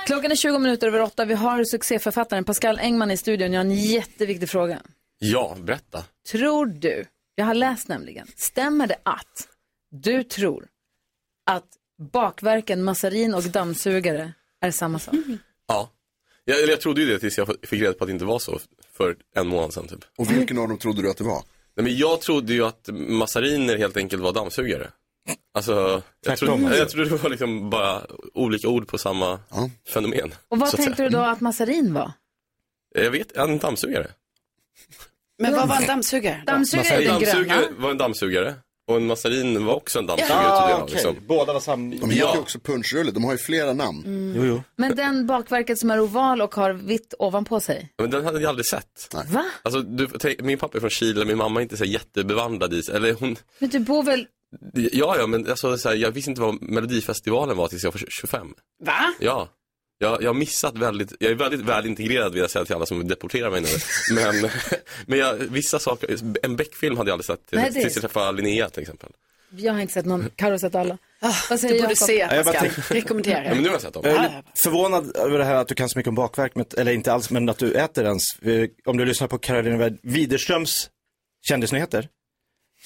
Speaker 3: Klockan är 20 minuter över 8. Vi har succéförfattaren Pascal Engman i studion. Jag har en jätteviktig fråga.
Speaker 13: Ja, berätta.
Speaker 3: Tror du, jag har läst nämligen, stämmer det att du tror att bakverken, massarin och dammsugare är samma sak?
Speaker 13: Ja. Jag, eller jag trodde ju det tills jag fick reda på att det inte var så för en månad sedan typ.
Speaker 5: Och vilken av dem trodde du att det var?
Speaker 13: Nej, men jag trodde ju att massariner helt enkelt var dammsugare. Alltså, jag
Speaker 5: Tvärtom,
Speaker 13: trodde,
Speaker 5: alltså.
Speaker 13: jag trodde det var liksom bara olika ord på samma fenomen.
Speaker 3: Och vad
Speaker 13: så att
Speaker 3: tänkte
Speaker 13: säga.
Speaker 3: du då att massarin var?
Speaker 13: Jag vet, en dammsugare.
Speaker 7: Men vad var en dammsugare?
Speaker 3: Dammsugare är den gröna.
Speaker 13: var en dammsugare. Och en massarin var också en dammsugare
Speaker 5: Ja,
Speaker 13: trodde jag.
Speaker 5: Ah, okej.
Speaker 13: Liksom.
Speaker 4: Båda var samma.
Speaker 5: De heter ju också punschrulle, de har ju flera namn.
Speaker 13: Jo, jo.
Speaker 3: Men den bakverket som är oval och har vitt ovanpå sig.
Speaker 13: Men den hade jag aldrig sett.
Speaker 3: Va?
Speaker 13: Alltså, du, tänk, min pappa är från Chile, min mamma är inte så här jättebevandrad i Eller hon,
Speaker 3: Men du bor väl...
Speaker 13: ja, ja, men alltså, så här, jag visste inte vad Melodifestivalen var tills jag var 25.
Speaker 7: Va?
Speaker 13: Ja. Jag, jag har missat väldigt, jag är väldigt väl integrerad vill jag säga till alla som vill deportera mig nu. Men, [laughs] men jag, vissa saker, en Beck-film hade jag aldrig sett till,
Speaker 3: Nej, det är-
Speaker 13: tills jag träffade Linnea till exempel.
Speaker 3: Jag har inte sett någon. Carro har sett alla. Vad säger
Speaker 7: du Ah, borde
Speaker 3: Jakob?
Speaker 7: se, Ah,
Speaker 4: Ja, jag bara Pascal. tänkte-
Speaker 7: Rekommenderar.
Speaker 13: Ja, men nu har jag sett dem.
Speaker 4: Jag är lite förvånad över det här att du kan så mycket om bakverk, men, eller inte alls, men att du äter ens. Eh, Om du lyssnar på Karolina Widerströms kändisnyheter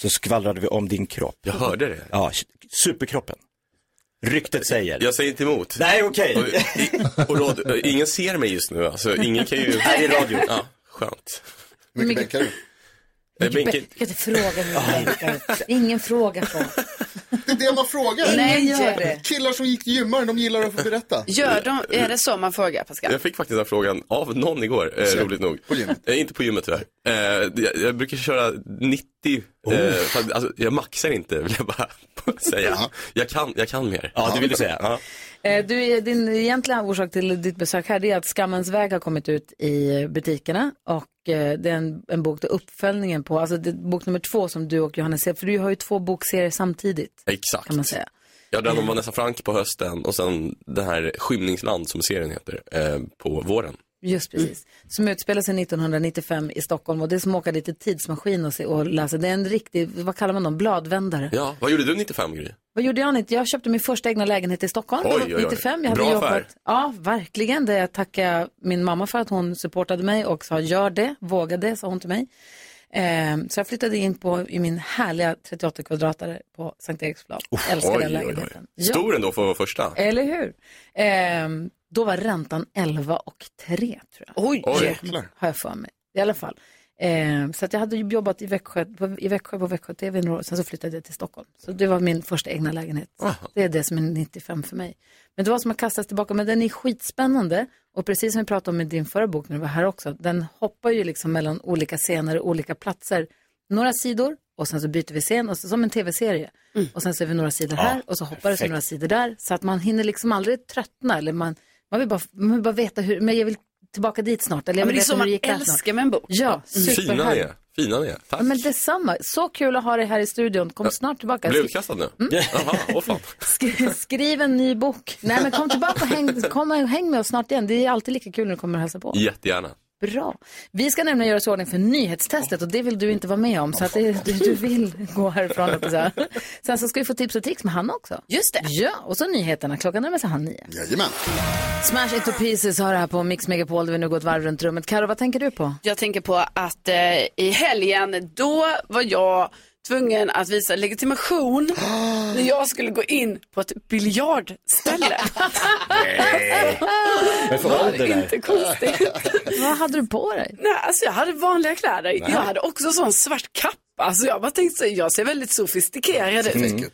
Speaker 4: så skvallrade vi om din kropp.
Speaker 13: Jag hörde det.
Speaker 4: Ja, superkroppen. Ryktet säger.
Speaker 13: Jag säger inte emot.
Speaker 4: Nej, okej.
Speaker 13: Och, och radio, ingen ser mig just nu, alltså ingen kan ju...
Speaker 4: Nej, det är radio.
Speaker 13: [laughs] Ja, skönt.
Speaker 5: Hur mycket bänkar du?
Speaker 13: Jag bänkar,
Speaker 3: Jag kan inte fråga mig. Det är Ingen fråga på.
Speaker 5: Det är det man frågar.
Speaker 7: Nej, gör det.
Speaker 5: Killar som gick till gymmaren, de gillar att få berätta.
Speaker 7: Gör de, är det så man frågar Pascal?
Speaker 13: Jag fick faktiskt den här frågan av någon igår, eh, roligt nog. På gymmet? Eh, inte på gymmet tyvärr. Eh, jag, jag brukar köra 90,
Speaker 4: Oh.
Speaker 13: eh, för att, alltså, jag maxar inte vill jag bara [laughs] säga. Jag kan, jag kan mer.
Speaker 4: Ja, det vill du säga.
Speaker 13: Ja.
Speaker 3: Eh, Du, din egentliga orsak till ditt besök här det är att Skammens väg har kommit ut i butikerna och eh, det är en, en bok där uppföljningen på, alltså det är bok nummer två som du och Johannes ser, för du har ju två bokserier samtidigt.
Speaker 13: Exakt.
Speaker 3: Kan man säga.
Speaker 13: Jag drömde om Vanessa Frank på hösten och sen den här Skymningsland som serien heter eh, på våren.
Speaker 3: Just precis. Som utspelar sig 1995 i Stockholm och det är som att åka dit i tidsmaskin och, se, och läsa. Det är en riktig, vad kallar man dem, bladvändare.
Speaker 13: Ja, vad gjorde du 95 Gry?
Speaker 3: Vad gjorde jag inte? Jag köpte min första egna lägenhet i Stockholm
Speaker 13: Oj, oj, oj.
Speaker 3: 95. Jag hade
Speaker 13: Bra
Speaker 3: jobbat.
Speaker 13: affär.
Speaker 3: Ja, verkligen. Det tackar jag min mamma för att hon supportade mig och sa gör det, våga det, sa hon till mig. Ehm, så jag flyttade in på, i min härliga 38 kvadratare på Sankt Eriksplan. Älskar den lägenheten. Ja.
Speaker 13: Stor ändå för att vara första.
Speaker 3: Eller hur? Ehm, då var räntan 11 och 3 tror jag. Oj,
Speaker 13: Oj, jäklar.
Speaker 3: har jag för mig. I alla fall. Ehm, så att jag hade ju jobbat i Växjö, på, i Växjö på Växjö TV några år, sen så flyttade jag till Stockholm. Så det var min första egna lägenhet. Det är det som är 95 för mig. Men det var som att kastas tillbaka, men den är skitspännande. Och precis som vi pratade om i din förra bok när du var här också, den hoppar ju liksom mellan olika scener och olika platser. Några sidor och sen så byter vi scen, och så, som en tv-serie.
Speaker 7: Mm.
Speaker 3: Och sen så är vi några sidor
Speaker 1: Ja,
Speaker 3: här och så hoppar det
Speaker 1: perfekt.
Speaker 3: sig några sidor där. Så att man hinner liksom aldrig tröttna. Eller man, man, vill bara, man vill bara veta hur, men jag vill tillbaka dit snart. Eller
Speaker 7: Ja,
Speaker 3: jag
Speaker 7: men
Speaker 3: vill
Speaker 7: det är
Speaker 3: veta
Speaker 7: så
Speaker 3: hur
Speaker 7: man
Speaker 3: det gick där
Speaker 7: älskar
Speaker 3: snart.
Speaker 7: med en bok.
Speaker 3: Ja,
Speaker 13: Fina ni
Speaker 3: superhärligt.
Speaker 13: är. Fina ni är. Tack.
Speaker 3: Ja, men detsamma. Så kul att ha dig här i studion. Kom
Speaker 13: Ja.
Speaker 3: snart tillbaka.
Speaker 13: Blev
Speaker 3: Skri-
Speaker 13: utkastad nu?
Speaker 3: Mm.
Speaker 13: Jaha, åh fan.
Speaker 3: Sk- skriv en ny bok. Nej, men kom tillbaka och häng, kom och häng med oss snart igen. Det är alltid lika kul när du kommer och hälsar på.
Speaker 13: Jättegärna.
Speaker 3: Bra. Vi ska nämligen göra oss i ordning för nyhetstestet och det vill du inte vara med om. Så att det, du, du vill gå härifrån. höll jag på att säga. Sen så ska vi få tips och tricks med Hanna också. Just det. Ja, och så nyheterna. Klockan närmar sig halv nio.
Speaker 5: Jajamän.
Speaker 3: Smash It to Pieces har det här på Mix Megapol där vi nu går ett varv runt rummet. Karo, vad tänker du på?
Speaker 7: Jag tänker på att eh, i helgen, då var jag tvungen att visa legitimation när jag skulle gå in på ett biljardställe.
Speaker 4: Varför har du det där?
Speaker 7: Inte konstigt.
Speaker 3: Vad hade du på dig?
Speaker 7: Nej, alltså jag hade vanliga kläder. Jag hade också sån svart kappa. Alltså jag bara tänkte så här, jag ser väldigt sofistikerad ut.
Speaker 4: Mm.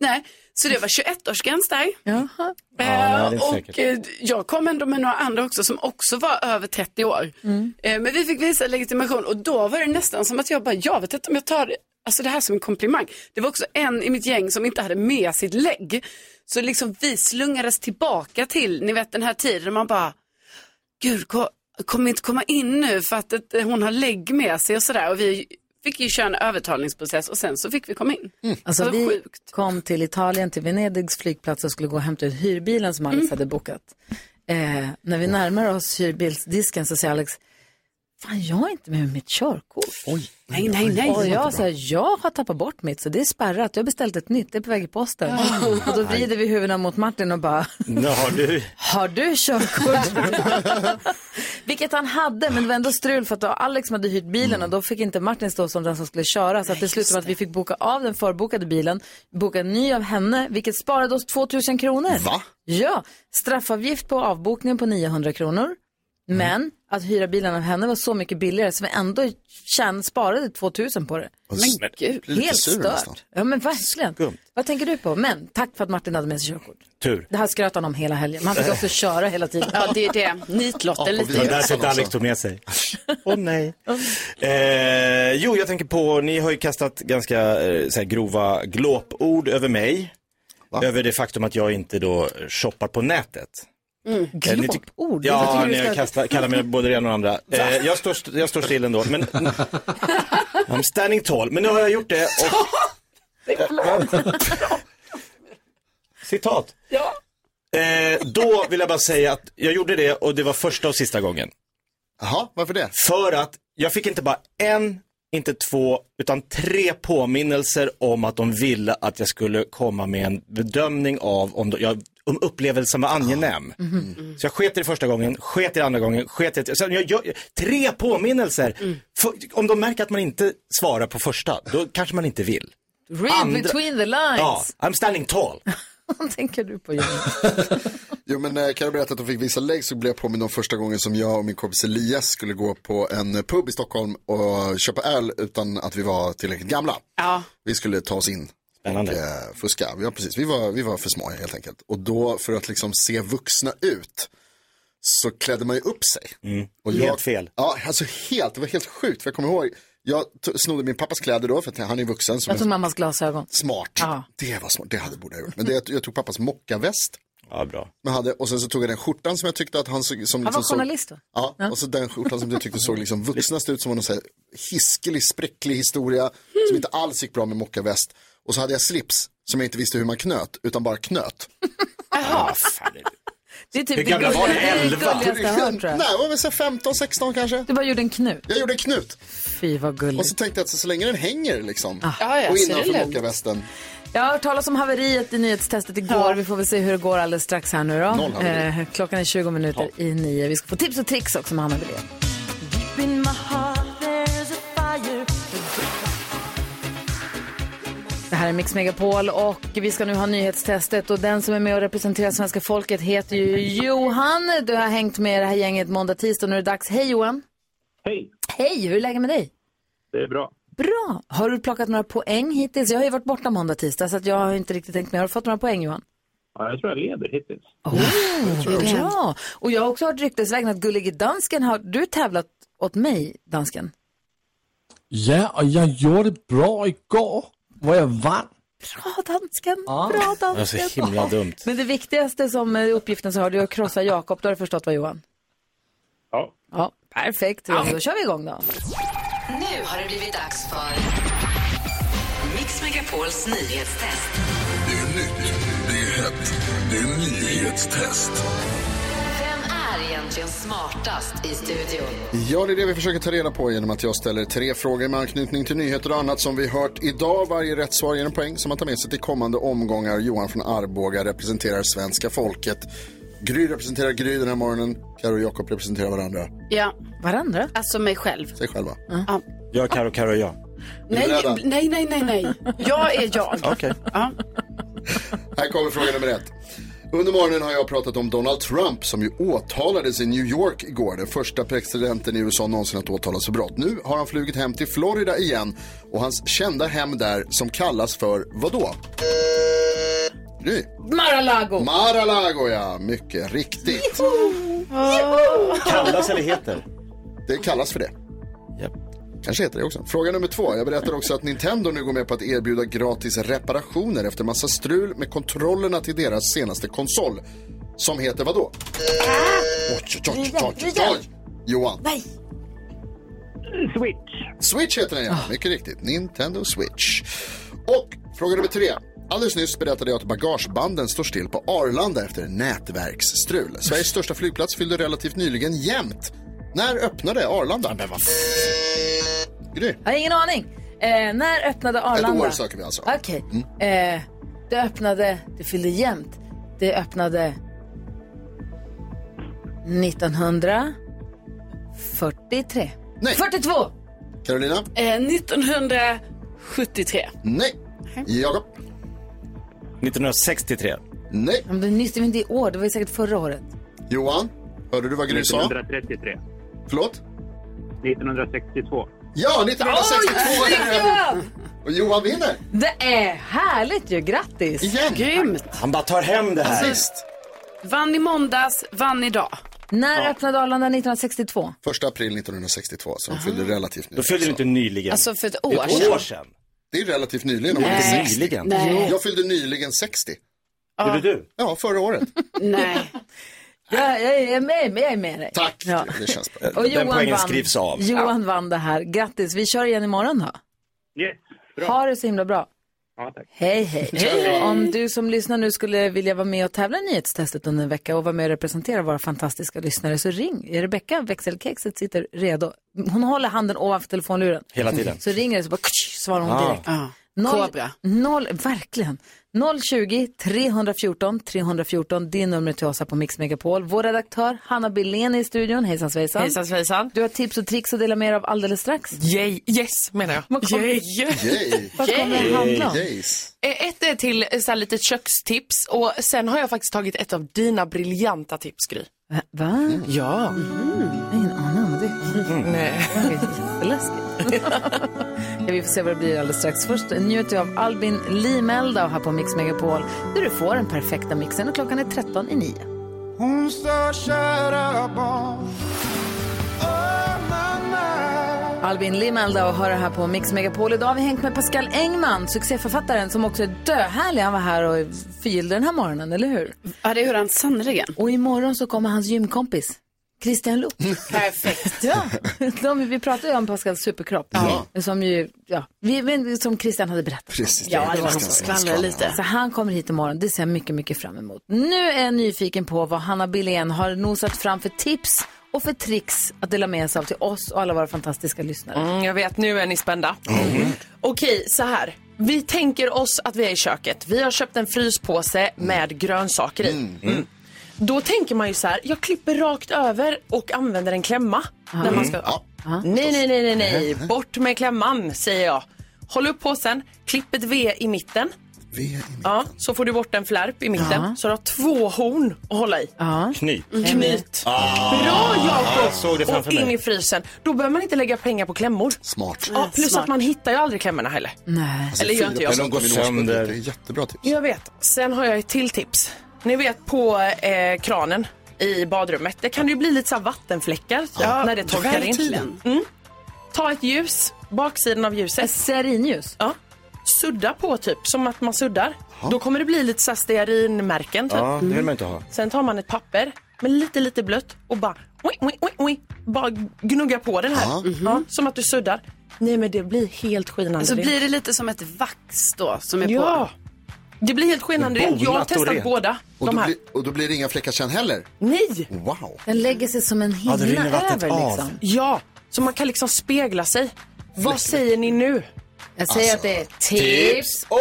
Speaker 7: Nej, så det var 21-årsgräns där.
Speaker 3: Jaha.
Speaker 4: Ja, det är
Speaker 7: och
Speaker 4: säkert.
Speaker 7: eh, jag kom ändå med några andra också som också var över 30 år.
Speaker 3: Mm.
Speaker 7: Eh, Men vi fick visa legitimation och då var det nästan som att jag bara, jag vet inte om jag tar det- alltså det här som en komplimang. Det var också en i mitt gäng som inte hade med sitt lägg. Så liksom vi slungades tillbaka till, ni vet den här tiden man bara, gud, ko- kommer inte komma in nu för att ett, hon har lägg med sig och sådär. Och vi fick ju köra en övertalningsprocess och sen så fick vi komma in.
Speaker 4: Mm.
Speaker 3: Alltså,
Speaker 7: Det var
Speaker 3: vi kom till Italien, till Venedigs flygplats och skulle gå och hämta ut hyrbilen som
Speaker 7: Mm.
Speaker 3: Alex hade bokat. Eh, när vi närmar oss hyrbilsdisken så säger Alex, fan jag är inte med mitt körkort. Oj,
Speaker 7: nej, nej, nej.
Speaker 3: Och
Speaker 7: Det var
Speaker 3: jag
Speaker 7: inte
Speaker 3: säger, jag har tappat bort mitt så det är spärrat, jag har beställt ett nytt, det är på väg i posten.
Speaker 1: Ah.
Speaker 3: Och då vrider vi huvudena mot Martin och bara,
Speaker 4: Nu har du.
Speaker 3: har du körkort? [laughs] Vilket han hade, men det var ändå strul för att det var Alex som hade hyrt bilen och då fick inte Martin stå som den som skulle köra. Så att det slutade med att vi fick boka av den förbokade bilen, boka en ny av henne, vilket sparade oss
Speaker 1: Mm.
Speaker 3: 2000 kronor. Va? Ja, straffavgift på avbokningen på 900 kronor. Men att hyra bilen av henne var så mycket billigare så vi ändå tjän- sparade 2000 på det.
Speaker 1: Men
Speaker 3: Men
Speaker 1: gud.
Speaker 3: gud,
Speaker 1: Lite
Speaker 3: helt
Speaker 1: sur nästan.
Speaker 3: stört. Ja men verkligen. Vad tänker du på? Men tack för att Martin hade med sig körkort.
Speaker 4: Tur.
Speaker 3: Det här skröt han om hela helgen. Man fick också köra hela tiden.
Speaker 7: Ja, det är det. Nitlotten
Speaker 4: Det var därför inte Alex tog med sig. Åh nej. Eh, jo, jag tänker på, ni har ju kastat ganska eh, så här, grova glåpord över mig. Över det faktum att jag inte då shoppar på nätet.
Speaker 3: Mm.
Speaker 4: Eh, ni tyck-
Speaker 3: Glåpord? Jag tycker
Speaker 4: Ja,
Speaker 3: du
Speaker 4: ni
Speaker 3: ska-
Speaker 4: har kastat, kallat mig både det ena och det andra. Eh, jag, står, st- jag står still ändå.
Speaker 3: [laughs]
Speaker 4: Men, I'm standing tall. Men nu har jag gjort det. Och... Citat.
Speaker 7: Ja.
Speaker 4: Eh, då vill jag bara säga att jag gjorde det och det var första och sista gången.
Speaker 5: Jaha, varför det?
Speaker 4: För att jag fick inte bara en, inte två, utan tre påminnelser om att de ville att jag skulle komma med en bedömning av om, de, jag, om upplevelsen var angenäm. Så jag sket i det första gången, sket i det andra gången, sket i det... Sen jag, jag, tre påminnelser! För, om de märker att man inte svarar på första, då kanske man inte vill.
Speaker 3: Read
Speaker 4: Andra-
Speaker 3: between the
Speaker 4: Ja,
Speaker 3: lines.
Speaker 4: I'm standing tall.
Speaker 3: [laughs] Vad tänker du på Jonas?
Speaker 5: Jo men eh, kan jag berätta att de fick vissa lägg så blev jag påmind om första gången som jag och min kompis Elias skulle gå på en eh, pub i Stockholm och köpa öl utan att vi var tillräckligt gamla.
Speaker 7: Ja.
Speaker 5: Vi skulle ta oss in
Speaker 4: Spännande.
Speaker 5: och eh, fuska. Ja, precis. Vi, var, vi var för små helt enkelt. Och då för att liksom se vuxna ut så klädde man ju upp sig. Och
Speaker 4: Mm. Helt fel.
Speaker 5: Ja, alltså helt. Det var helt sjukt. För jag kommer ihåg, jag t- snodde min pappas kläder då för att han är vuxen. som
Speaker 3: Jag tog mammas glasögon.
Speaker 5: Smart. Det var smart. Det hade borde jag gjort. Men det, jag tog pappas mockaväst.
Speaker 4: Ja, bra.
Speaker 5: Men hade, och sen så tog jag den skjortan som jag tyckte att han såg... Som liksom
Speaker 3: Han var journalist
Speaker 5: såg,
Speaker 3: va?
Speaker 5: Ja, och så den skjortan som jag tyckte såg liksom vuxnast ut som en sån här hiskelig, spräcklig historia som inte alls gick bra med mockaväst. Och så hade jag slips som jag inte visste hur man knöt, utan bara knöt.
Speaker 3: Det är typ
Speaker 5: Hur gamla var ni?
Speaker 3: det är det
Speaker 5: Elva?
Speaker 3: gulligaste jag har hört, tror jag.
Speaker 5: Nej, jag var väl så här 15, 16 kanske.
Speaker 3: Du bara gjorde en knut?
Speaker 5: Jag gjorde en knut.
Speaker 3: Fy vad gulligt.
Speaker 5: Och så tänkte jag att så, så länge den hänger liksom.
Speaker 3: Ah. Ja, ja,
Speaker 5: och
Speaker 3: så är det
Speaker 5: innanför
Speaker 3: lugnt.
Speaker 5: mockavästen.
Speaker 3: Jag har hört talas om haveriet i nyhetstestet igår. Vi får väl se hur det går alldeles strax här nu
Speaker 5: Noll
Speaker 3: då.
Speaker 5: haveri.
Speaker 3: Eh, klockan är 20 minuter i nio. Vi ska få tips och tricks också med Hanna Wilén.
Speaker 11: In my heart there's a fire.
Speaker 3: Det här är Mix Megapol och vi ska nu ha nyhetstestet och den som är med och representerar svenska folket heter ju Johan. Du har hängt med det här gänget måndag, tisdag och nu är det dags. Hej Johan!
Speaker 10: Hej!
Speaker 3: Hej, hur är läget med dig?
Speaker 10: Det är bra.
Speaker 3: Bra! Har du plockat några poäng hittills? Jag har ju varit borta måndag, tisdag så att jag har inte riktigt tänkt med. Har du fått några poäng Johan?
Speaker 10: Ja, jag tror jag leder hittills.
Speaker 3: Bra! Och jag har också hört ryktesvägen att Gullige Dansken har du tävlat åt mig, Dansken?
Speaker 6: Ja, och jag gjorde det bra igår, hvor jag vann.
Speaker 3: Bra Dansken, bra Dansken.
Speaker 4: dumt.
Speaker 3: Men det viktigaste som eh, uppgiften så har du är att krossa Jakob. Då har du förstått vad Johan?
Speaker 10: Ja.
Speaker 3: Ja, perfekt. Ja, Då kör vi igång då.
Speaker 2: Nu har det blivit dags för Mix Megapols nyhetstest.
Speaker 11: Det är hett, det är nyhetstest.
Speaker 2: Vem är egentligen smartast i studion?
Speaker 5: Ja, det är det vi försöker ta reda på genom att jag ställer tre frågor med anknytning till nyheter och annat som vi hört idag. Varje rätt svar ger en poäng som man tar med sig till kommande omgångar. Johan från Arboga representerar svenska folket. Gry representerar Gry den här morgonen. Karo och Jakob representerar varandra.
Speaker 7: Ja.
Speaker 3: Varandra?
Speaker 7: Alltså mig själv.
Speaker 5: Säg själva.
Speaker 7: Ja.
Speaker 4: Jag, Karo, Karo och jag.
Speaker 7: Nej, nej, nej, nej, nej. Jag är jag.
Speaker 4: Okej.
Speaker 5: Här kommer fråga nummer ett. Under morgonen har jag pratat om Donald Trump som ju åtalades i New York igår. Den första presidenten i USA någonsin att åtalas för brott. Nu har han flugit hem till Florida igen och hans kända hem där som kallas för vadå? Gry?
Speaker 3: Mar-a-Lago.
Speaker 5: Mar-a-Lago ja, mycket riktigt.
Speaker 4: Kallas eller heter?
Speaker 5: Det kallas för det. Kanske heter det också. Fråga nummer två. Jag berättar också att Nintendo nu går med på att erbjuda gratis reparationer efter massa strul med kontrollerna till deras senaste konsol. Som heter vadå? Oj, oj, oj, oj, oj, oj. Johan.
Speaker 3: Nej.
Speaker 5: Switch. Switch heter den ja, mycket riktigt. Nintendo Switch. Och fråga nummer tre. Alldeles nyss berättade jag att bagagebanden står still på Arlanda efter nätverksstrul. Sveriges största flygplats fyllde relativt nyligen jämnt. När öppnade Arlanda? Men vad Gry.
Speaker 3: Jag har ingen aning. Eh, när öppnade Arlanda?
Speaker 5: år söker vi alltså.
Speaker 3: Okej. Eh, det öppnade, det fyllde jämnt. Det öppnade 1943.
Speaker 5: Nej.
Speaker 3: 42!
Speaker 5: Carolina?
Speaker 7: Eh, 1973.
Speaker 5: Nej. Jakob?
Speaker 4: 1963.
Speaker 5: Nej.
Speaker 3: Men det är nyss, det var inte i år, det var ju säkert förra året.
Speaker 5: Johan? Hörde du vad Gry sa?
Speaker 10: 1933.
Speaker 5: Förlåt?
Speaker 10: 1962.
Speaker 5: Ja, 1962
Speaker 3: Oj, Jakob!
Speaker 5: Och Johan vinner.
Speaker 3: Det är härligt ju, grattis!
Speaker 5: Igen.
Speaker 7: Grymt!
Speaker 4: Han bara tar hem det
Speaker 5: Alltså,
Speaker 4: här.
Speaker 7: Vann i måndags, vann idag.
Speaker 3: När öppnade Arlanda 1962?
Speaker 5: 1 april 1962, så de fyllde relativt nyligen.
Speaker 4: Då fyllde du inte nyligen.
Speaker 7: Alltså för ett
Speaker 5: Det är
Speaker 7: år sedan.
Speaker 5: Det är relativt nyligen. om
Speaker 7: Nej.
Speaker 5: man inte 60.
Speaker 7: Nyligen. Nej.
Speaker 5: Jag fyllde nyligen 60.
Speaker 7: Ja. Gjorde
Speaker 4: du?
Speaker 5: Ja, Mm. förra året.
Speaker 7: Nej.
Speaker 3: Jag, jag, är med, jag är med dig.
Speaker 5: Tack,
Speaker 3: Ja.
Speaker 5: det känns bra.
Speaker 3: Och Johan
Speaker 4: poängen
Speaker 3: vann.
Speaker 4: skrivs av.
Speaker 3: Johan vann det här. Grattis. Vi kör igen imorgon då.
Speaker 10: Yes,
Speaker 3: Ha det så himla bra.
Speaker 10: Ja, tack.
Speaker 3: Hej, hej.
Speaker 10: Hej.
Speaker 3: Om du som lyssnar nu skulle vilja vara med och tävla i nyhetstestet under en vecka och vara med och representera våra fantastiska lyssnare så ring. Rebecka, växelkexet, sitter redo. Hon håller handen ovanför telefonluren.
Speaker 4: Hela tiden.
Speaker 3: Så ringer det så bara ktsch, svarar hon
Speaker 4: Ah.
Speaker 3: direkt.
Speaker 4: Ah.
Speaker 3: Noll-
Speaker 7: Kobra.
Speaker 3: Noll, verkligen. 020 314 314, det är numret till oss här på Mix Megapol. Vår redaktör Hanna Billén är i studion. Hejsan svejsan.
Speaker 15: Hejsan svejsan.
Speaker 3: Du har tips och tricks att dela med er av alldeles strax.
Speaker 15: Yay, yes menar jag.
Speaker 3: Vad kommer-
Speaker 15: Yay. [laughs]
Speaker 3: Yay. Vad kommer det handla om?
Speaker 15: Eh, Ett är till eh, så här, litet kökstips och sen har jag faktiskt tagit ett av dina briljanta tips Gry.
Speaker 3: Va? Mm-hmm.
Speaker 15: Ja. Mm.
Speaker 3: Ingen aning om det.
Speaker 15: Nej.
Speaker 3: Läskigt. [laughs] ja, vi får se vad det blir alldeles strax. Först njuter vi av Albin Limelda här på Mix Megapol. Där du får den perfekta mixen och klockan är 13 i 9.
Speaker 11: Hon sa kära barn Åh mamma
Speaker 3: Albin Limelda och höra här på Mix Megapol. Idag har vi hängt med Pascal Engman, succéförfattaren som också är döhärlig. Han var här och förgyllde den här morgonen, eller hur?
Speaker 7: Ja, det gjorde han sannerligen.
Speaker 3: Och imorgon så kommer hans gymkompis, Christian Luuk.
Speaker 15: Perfekt.
Speaker 3: ja, [laughs] de, vi pratade ju om Pascals superkropp.
Speaker 15: Ja.
Speaker 3: Som ju, ja, vi, men som Christian hade berättat.
Speaker 5: Precis.
Speaker 15: Ja, det var han som skvallrade lite.
Speaker 3: Så han kommer hit imorgon, det ser jag mycket, mycket fram emot. Nu är jag nyfiken på vad Hanna Billén har nosat fram för tips och för tricks att dela med sig av till oss och alla våra fantastiska lyssnare.
Speaker 15: Mm, jag vet, nu är ni spända.
Speaker 11: Mm-hmm.
Speaker 15: Okej, så här. Vi tänker oss att vi är i köket. Vi har köpt en fryspåse med grönsaker i.
Speaker 11: Mm.
Speaker 15: Mm. Då tänker man ju så här, jag klipper rakt över och använder en klämma. När man ska, ja. Mm. Nej, nej, nej, nej, nej. Bort med klämman, säger jag. Håll upp påsen, klipp ett V i mitten. Ja, så får du bort en flärp i mitten.
Speaker 4: Ja.
Speaker 15: Så du har två horn att hålla i.
Speaker 4: Knyt.
Speaker 6: Mm.
Speaker 15: Knyt.
Speaker 4: Ah.
Speaker 15: Bra
Speaker 4: Ja, jag såg det
Speaker 15: Jakob!
Speaker 4: framför
Speaker 15: Och in
Speaker 4: mig.
Speaker 15: i frysen. Då behöver man inte lägga pengar på klämmor.
Speaker 5: Smart. Alltså,
Speaker 15: Ja, plus
Speaker 7: Smart.
Speaker 15: att man hittar ju aldrig klämmorna heller.
Speaker 3: Nej.
Speaker 15: Eller gör inte jag.
Speaker 5: De går sönder. Det är jättebra tips.
Speaker 15: Jag vet. Sen har jag ett till tips. Ni vet på eh, kranen i badrummet. Det kan ju bli lite så här vattenfläckar
Speaker 7: Ja,
Speaker 15: när det torkar in.
Speaker 7: verkligen.
Speaker 15: Mm. Ta ett ljus, baksidan av ljuset. Ett
Speaker 3: stearinljus?
Speaker 15: Ja. Sudda på typ, som att man suddar. Då kommer det bli lite så här stearinmärken typ.
Speaker 4: Ja, det vill man inte ha.
Speaker 15: Sen tar man ett papper med lite, lite blött och bara, oj, oj, oj, oj, bara gnugga på den här.
Speaker 5: mhm.
Speaker 15: Ja, som att du suddar. Nej, men det blir helt skinande.
Speaker 7: Alltså
Speaker 15: rent.
Speaker 7: blir det lite som ett vax då som är
Speaker 15: Ja.
Speaker 7: på?
Speaker 15: Det blir helt skinande rent. Jag har
Speaker 5: Bonat och
Speaker 15: testat
Speaker 5: rent.
Speaker 15: båda.
Speaker 5: Och
Speaker 15: de
Speaker 5: då,
Speaker 15: här.
Speaker 5: blir, och då blir det inga fläckar sen heller?
Speaker 15: Nej!
Speaker 5: Wow.
Speaker 3: Den lägger sig som en
Speaker 5: Ja,
Speaker 3: hinna
Speaker 5: det rinner vattnet
Speaker 3: över
Speaker 5: av.
Speaker 3: liksom.
Speaker 15: Ja, så man kan liksom spegla sig. Vad säger ni nu?
Speaker 3: Jag säger att det är
Speaker 5: Alltså.
Speaker 3: tips
Speaker 15: och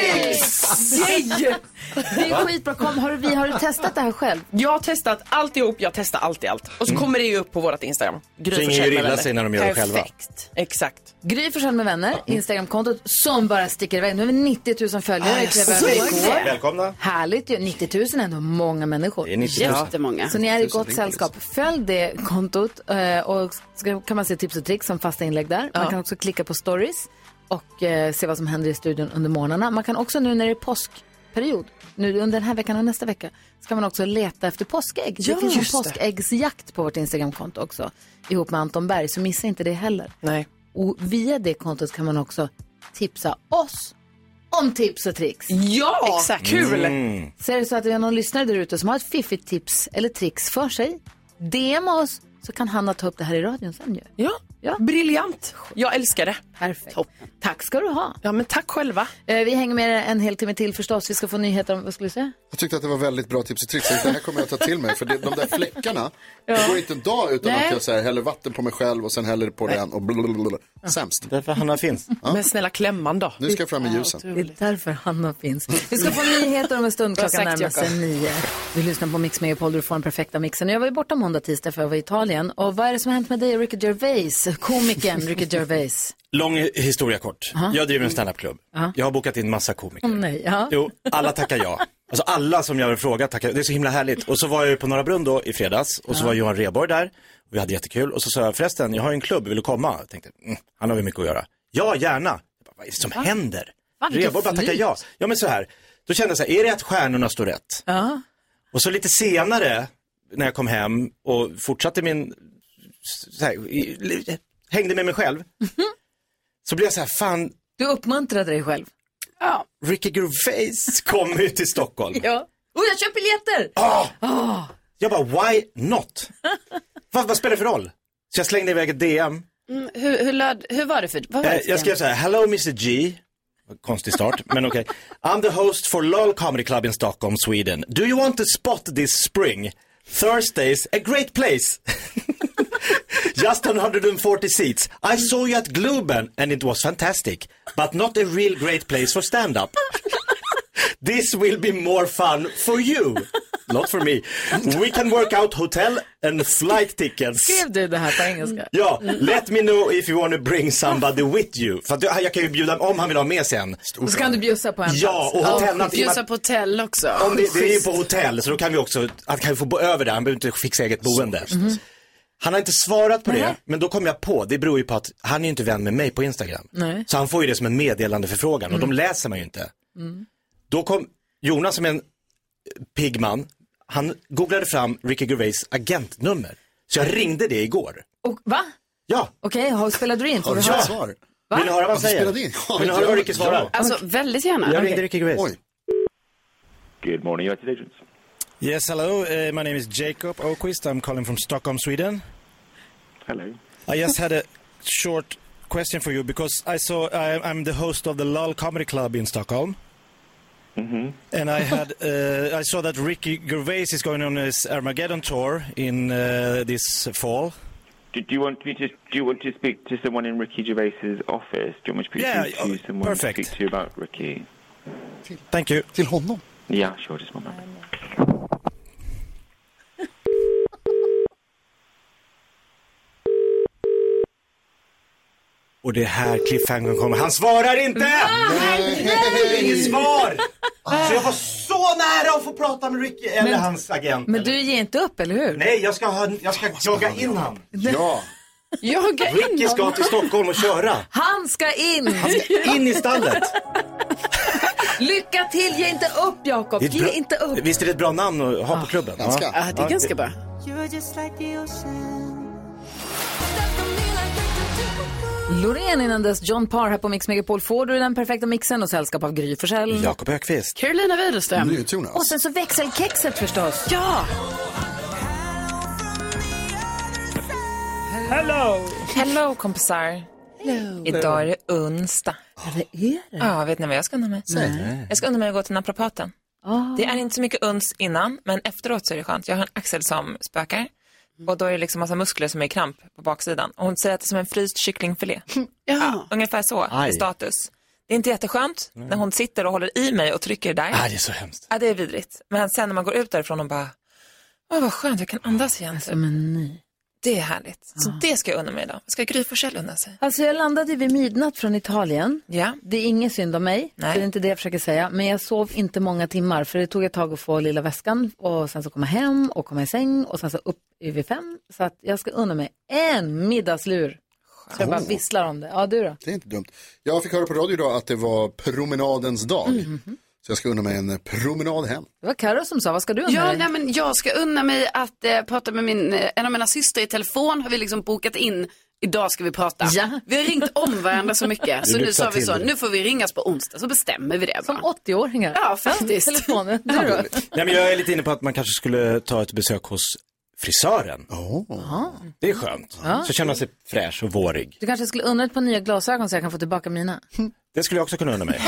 Speaker 3: tricks!
Speaker 15: Yay!
Speaker 3: Det är skitbra. Kom, har, du- vi, har du testat det här själv?
Speaker 15: Jag har testat alltihop, jag testar alltid allt. Och så kommer det ju upp på vårt Instagram. Gry
Speaker 4: Mm. Så ingen
Speaker 15: Forssell
Speaker 4: gör
Speaker 15: med
Speaker 4: illa
Speaker 15: vänner.
Speaker 4: sig när de gör det
Speaker 15: Perfekt.
Speaker 4: själva.
Speaker 15: Exakt.
Speaker 3: Gry Forssell med vänner, Instagramkontot som bara sticker iväg. Nu har vi 90 000 följare.
Speaker 15: Ah,
Speaker 3: Det klev
Speaker 15: så
Speaker 3: över
Speaker 15: är det.
Speaker 3: igår.
Speaker 4: Välkomna.
Speaker 3: Härligt ju. 90 000 är ändå många människor.
Speaker 4: Det är 90 000. Jättemånga.
Speaker 3: Så ni är i
Speaker 4: 90 000
Speaker 3: gott
Speaker 4: ringpolis.
Speaker 3: sällskap. Följ det kontot eh, och ska, kan man se tips och tricks som fasta inlägg där. Man
Speaker 15: Ja.
Speaker 3: kan också klicka på stories och eh, se vad som händer i studion under morgnarna. Man kan också nu när det är påskperiod, nu under den här veckan och nästa vecka, ska man också leta efter påskägg.
Speaker 15: Ja,
Speaker 3: det finns
Speaker 15: just
Speaker 3: en
Speaker 15: det.
Speaker 3: påskäggsjakt på vårt Instagramkonto också, ihop med Anton Berg, så missa inte det heller.
Speaker 15: Nej.
Speaker 3: Och via det kontot kan man också tipsa oss om tips och tricks.
Speaker 15: Ja, Exakt. kul.
Speaker 3: Mm. Så är det så att vi har någon lyssnare där ute som har ett fiffigt tips eller tricks för sig, DM oss så kan Hanna ta upp det här i radion sen ju.
Speaker 15: Ja. briljant. Jag älskar det.
Speaker 3: Perfekt. Tack ska du ha.
Speaker 15: Ja, men tack själva.
Speaker 3: Eh, vi hänger med er en hel timme till förstås. Vi ska få nyheter om, vad skulle du säga?
Speaker 5: Jag tyckte att det var väldigt bra tips och tricks. Det här kommer jag ta till mig. För det, de där
Speaker 15: [laughs]
Speaker 5: fläckarna, det går inte en dag utan
Speaker 15: Nej.
Speaker 5: att jag så här, häller vatten på mig själv och sen häller på den och blablabla. Sämst.
Speaker 4: Därför Hanna finns.
Speaker 15: Men snälla klämman då.
Speaker 5: Nu ska jag fram i ljusen.
Speaker 4: Mm.
Speaker 3: Det är därför Hanna finns. Vi ska få nyheter om en [laughs] stund.
Speaker 15: Bra
Speaker 3: Klockan
Speaker 15: sagt,
Speaker 3: närmar sig
Speaker 15: Jakob.
Speaker 3: nio. Du lyssnar på Mix Megapol, du får den perfekta mixen. Jag var ju borta måndag, tisdag för jag var i Italien. Och vad är det som har hänt med dig och Ricky Gervais? Komikern Ricky Gervais.
Speaker 4: Lång historia kort. Jag driver en standupklubb. Jag har bokat in massa komiker.
Speaker 3: Åh nej, Mm, ja.
Speaker 4: Jo, alla tackar ja. Alltså alla som jag har frågat tackar, det är så himla härligt. Och så var jag ju på Norra Brunn då i fredags och så
Speaker 16: Ja.
Speaker 4: var Johan Rheborg där. Vi hade jättekul och så sa jag förresten, jag har ju en klubb, vill du komma? Jag tänkte, mm, han har väl mycket att göra. Ja, gärna. Jag bara, Vad är det som händer?
Speaker 3: Va, vilket
Speaker 4: Rheborg bara tackar
Speaker 3: flyt.
Speaker 4: ja. Ja men så här, då kände jag så här, är det att stjärnorna står rätt?
Speaker 3: Ja.
Speaker 4: Och så lite senare när jag kom hem och fortsatte min, så här, i- li- hängde med mig själv. Så blev jag så här, fan,
Speaker 3: Du uppmuntrade dig själv. Ja.
Speaker 4: Ricky Gervais kommer ju till Stockholm.
Speaker 3: [laughs] ja. Oh, jag köper biljetter!
Speaker 4: Ah. Jag bara, why not? vad, vad spelar det för roll? Så jag slängde iväg ett DM.
Speaker 7: Mm, hur, hur, löd, hur var det för vad var
Speaker 4: Eh,
Speaker 7: det för
Speaker 4: jag skrev så här, hello Mr G. Konstig start, [laughs] men okej. I'm the host for LOL Comedy Club in Stockholm, Sweden. Do you want to spot this spring? Thursdays, a great place. [laughs] Just 140 seats. I saw you at Globen and it was fantastic. But not a real great place for stand-up. [laughs] This will be more fun for you. Not for me. We can work out hotel and flight tickets.
Speaker 3: Skrev du det här på engelska?
Speaker 4: Ja, let me know if you want to bring somebody with you. För att jag, jag kan ju bjuda, om han vill ha med sen.
Speaker 3: Och så kan du bjussa på en
Speaker 4: Ja, och hotellnatt.
Speaker 7: Bjussa på hotell också.
Speaker 4: Om det, det är ju på hotell, så då kan vi också, han kan ju få bo över där, han behöver inte fixa eget boende.
Speaker 3: Mm-hmm.
Speaker 4: Han har inte svarat på det, men då kom jag på, det beror ju på att han är ju inte vän med mig på Instagram.
Speaker 3: Nej.
Speaker 4: Så han får ju det som en meddelande förfrågan och de läser man ju inte.
Speaker 3: Mm.
Speaker 4: Då kom Jonas som är en eh, pigg man, han googlade fram Ricky Gervais agentnummer. Så jag ringde det igår.
Speaker 3: Och, va?
Speaker 4: Ja.
Speaker 3: Okej, har spelade du in? Får
Speaker 4: Ja.
Speaker 3: vi höra?
Speaker 4: Svar. Vill ni höra vad han säger? Vill ni höra vad Ricky svarar?
Speaker 7: Alltså väldigt gärna.
Speaker 4: Jag ringde Ricky Gervais.
Speaker 10: Good morning, United Agents.
Speaker 4: Yes, hello. Uh, my name is Jacob Oquist. I'm calling from Stockholm, Sweden.
Speaker 10: Hello.
Speaker 4: I just had a short question for you because I saw I, I'm the host of the LOL Comedy Club in Stockholm,
Speaker 10: Mm-hmm.
Speaker 4: and I had [laughs] uh, I saw that Ricky Gervais is going on his Armageddon tour in uh, this fall.
Speaker 10: Do, do you want me to do you want to speak to someone in Ricky Gervais's office? Do you want me to speak
Speaker 4: Yeah,
Speaker 10: to
Speaker 4: oh,
Speaker 10: someone
Speaker 4: perfect.
Speaker 10: to speak to about Ricky?
Speaker 4: Thank you.
Speaker 12: Till honom?
Speaker 10: Yeah, sure, just one moment.
Speaker 4: Och det är här cliffhangern kommer. Han svarar inte! Det är inget svar! Så jag var så nära att få prata med Ricky eller
Speaker 3: Men-
Speaker 4: hans agent.
Speaker 3: Men du ger inte upp, eller hur?
Speaker 4: Nej, jag ska, ha, jag ska jaga in han.
Speaker 12: Ja.
Speaker 3: Jaga in
Speaker 4: Ricky ska
Speaker 3: honom.
Speaker 4: till Stockholm och köra.
Speaker 3: Han ska in!
Speaker 4: Han ska in i stallet.
Speaker 3: Lycka till! Ge inte upp, Jakob.
Speaker 4: Det är ett
Speaker 3: Ge
Speaker 4: bra-
Speaker 3: inte upp. Ah.
Speaker 4: Visst är det ett bra namn att ha på klubben?
Speaker 3: ganska. Ja, det är ganska
Speaker 7: bra.
Speaker 3: Loreen innan dess, John Parr här på Mix Megapol. Får du den perfekta mixen och sällskap av Gry Forssell.
Speaker 4: Jakob Högqvist.
Speaker 7: Carolina Widerström.
Speaker 12: NyhetsJonas.
Speaker 5: alltså.
Speaker 3: Och sen så växelkexet förstås.
Speaker 7: Ja!
Speaker 15: Hello! Hello kompisar. Idag är det onsdag.
Speaker 3: Ja, det är det.
Speaker 15: Ja, vet ni vad jag ska unna mig?
Speaker 3: Nej.
Speaker 15: Jag ska unna mig att gå till naprapaten. Det är inte så mycket uns innan, men efteråt så är det skönt. Jag har en axel som spökar och då är det liksom massa muskler som är i kramp på baksidan. Och hon säger att det är som en fryst kycklingfilé. Ja, ungefär så
Speaker 11: Aj.
Speaker 15: i status. Det är inte jätteskönt när hon sitter och håller i mig och trycker där.
Speaker 11: Aj, det är
Speaker 4: så hemskt.
Speaker 15: Ja, det är vidrigt. Men sen när man går ut därifrån och bara, åh vad skönt, jag kan andas igen. typ."
Speaker 3: Alltså, Men nej.
Speaker 15: Det är härligt. Så det ska jag unna mig idag. Ska Gry Forssell unna sig?
Speaker 3: Alltså jag landade vid midnatt från Italien.
Speaker 15: Ja.
Speaker 3: Det är ingen synd om mig,
Speaker 15: Nej.
Speaker 3: det är inte det jag försöker säga. Men jag sov inte många timmar för det tog ett tag att få lilla väskan och sen så komma hem och komma i säng och sen så upp vid fem. Så att jag ska unna mig en middagslur. Så jag bara
Speaker 12: Oh.
Speaker 3: visslar om det. Ja, du då?
Speaker 12: Det är inte dumt. Jag fick höra på radio idag att det var promenadens dag. Så jag ska unna mig en promenad hem.
Speaker 3: Det var Karo som sa, vad ska du unna
Speaker 7: Ja,
Speaker 3: dig?
Speaker 7: nej, men jag ska unna mig att eh, prata med min, eh, en av mina systrar i telefon. Har vi liksom bokat in. Idag ska vi prata.
Speaker 3: Ja.
Speaker 7: Vi har ringt om varandra så
Speaker 3: [laughs]
Speaker 7: mycket.
Speaker 3: Du
Speaker 7: Så nu
Speaker 3: lyxar
Speaker 7: sa vi
Speaker 3: till
Speaker 7: så,
Speaker 3: det.
Speaker 7: nu får vi ringas på onsdag så bestämmer vi det. Som
Speaker 3: 80-åringar.
Speaker 7: Ja, faktiskt.
Speaker 3: [laughs] Telefonen, du då?
Speaker 4: Nej, men jag är lite inne på att man kanske skulle ta ett besök hos frisören.
Speaker 3: Oh.
Speaker 4: Det är skönt.
Speaker 3: Ja.
Speaker 4: Så känner man sig fräsch och vårig.
Speaker 3: Du kanske skulle undra ett par nya glasögon så jag kan få tillbaka mina.
Speaker 4: Det skulle jag också kunna unna mig.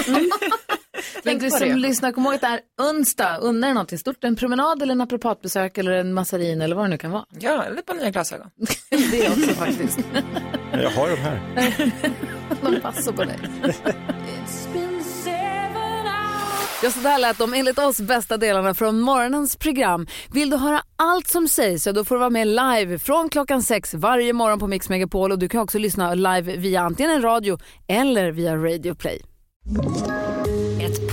Speaker 3: Men du
Speaker 7: på
Speaker 3: som
Speaker 7: det.
Speaker 3: lyssnar, kom ihåg att det är onsdag. Undra dig någonting stort. En promenad eller en apropatbesök eller en massarin eller vad det nu kan vara.
Speaker 15: Ja, eller på nya glasögon.
Speaker 3: [laughs] det också faktiskt.
Speaker 4: Jag har de här.
Speaker 3: De passar på dig. Ja, så där lät de enligt oss bästa delarna från morgonens program. Vill du höra allt som sägs så då får du vara med live från klockan sex varje morgon på Mix Megapol och du kan också lyssna live via antingen en radio eller via Radio Play.
Speaker 2: Ett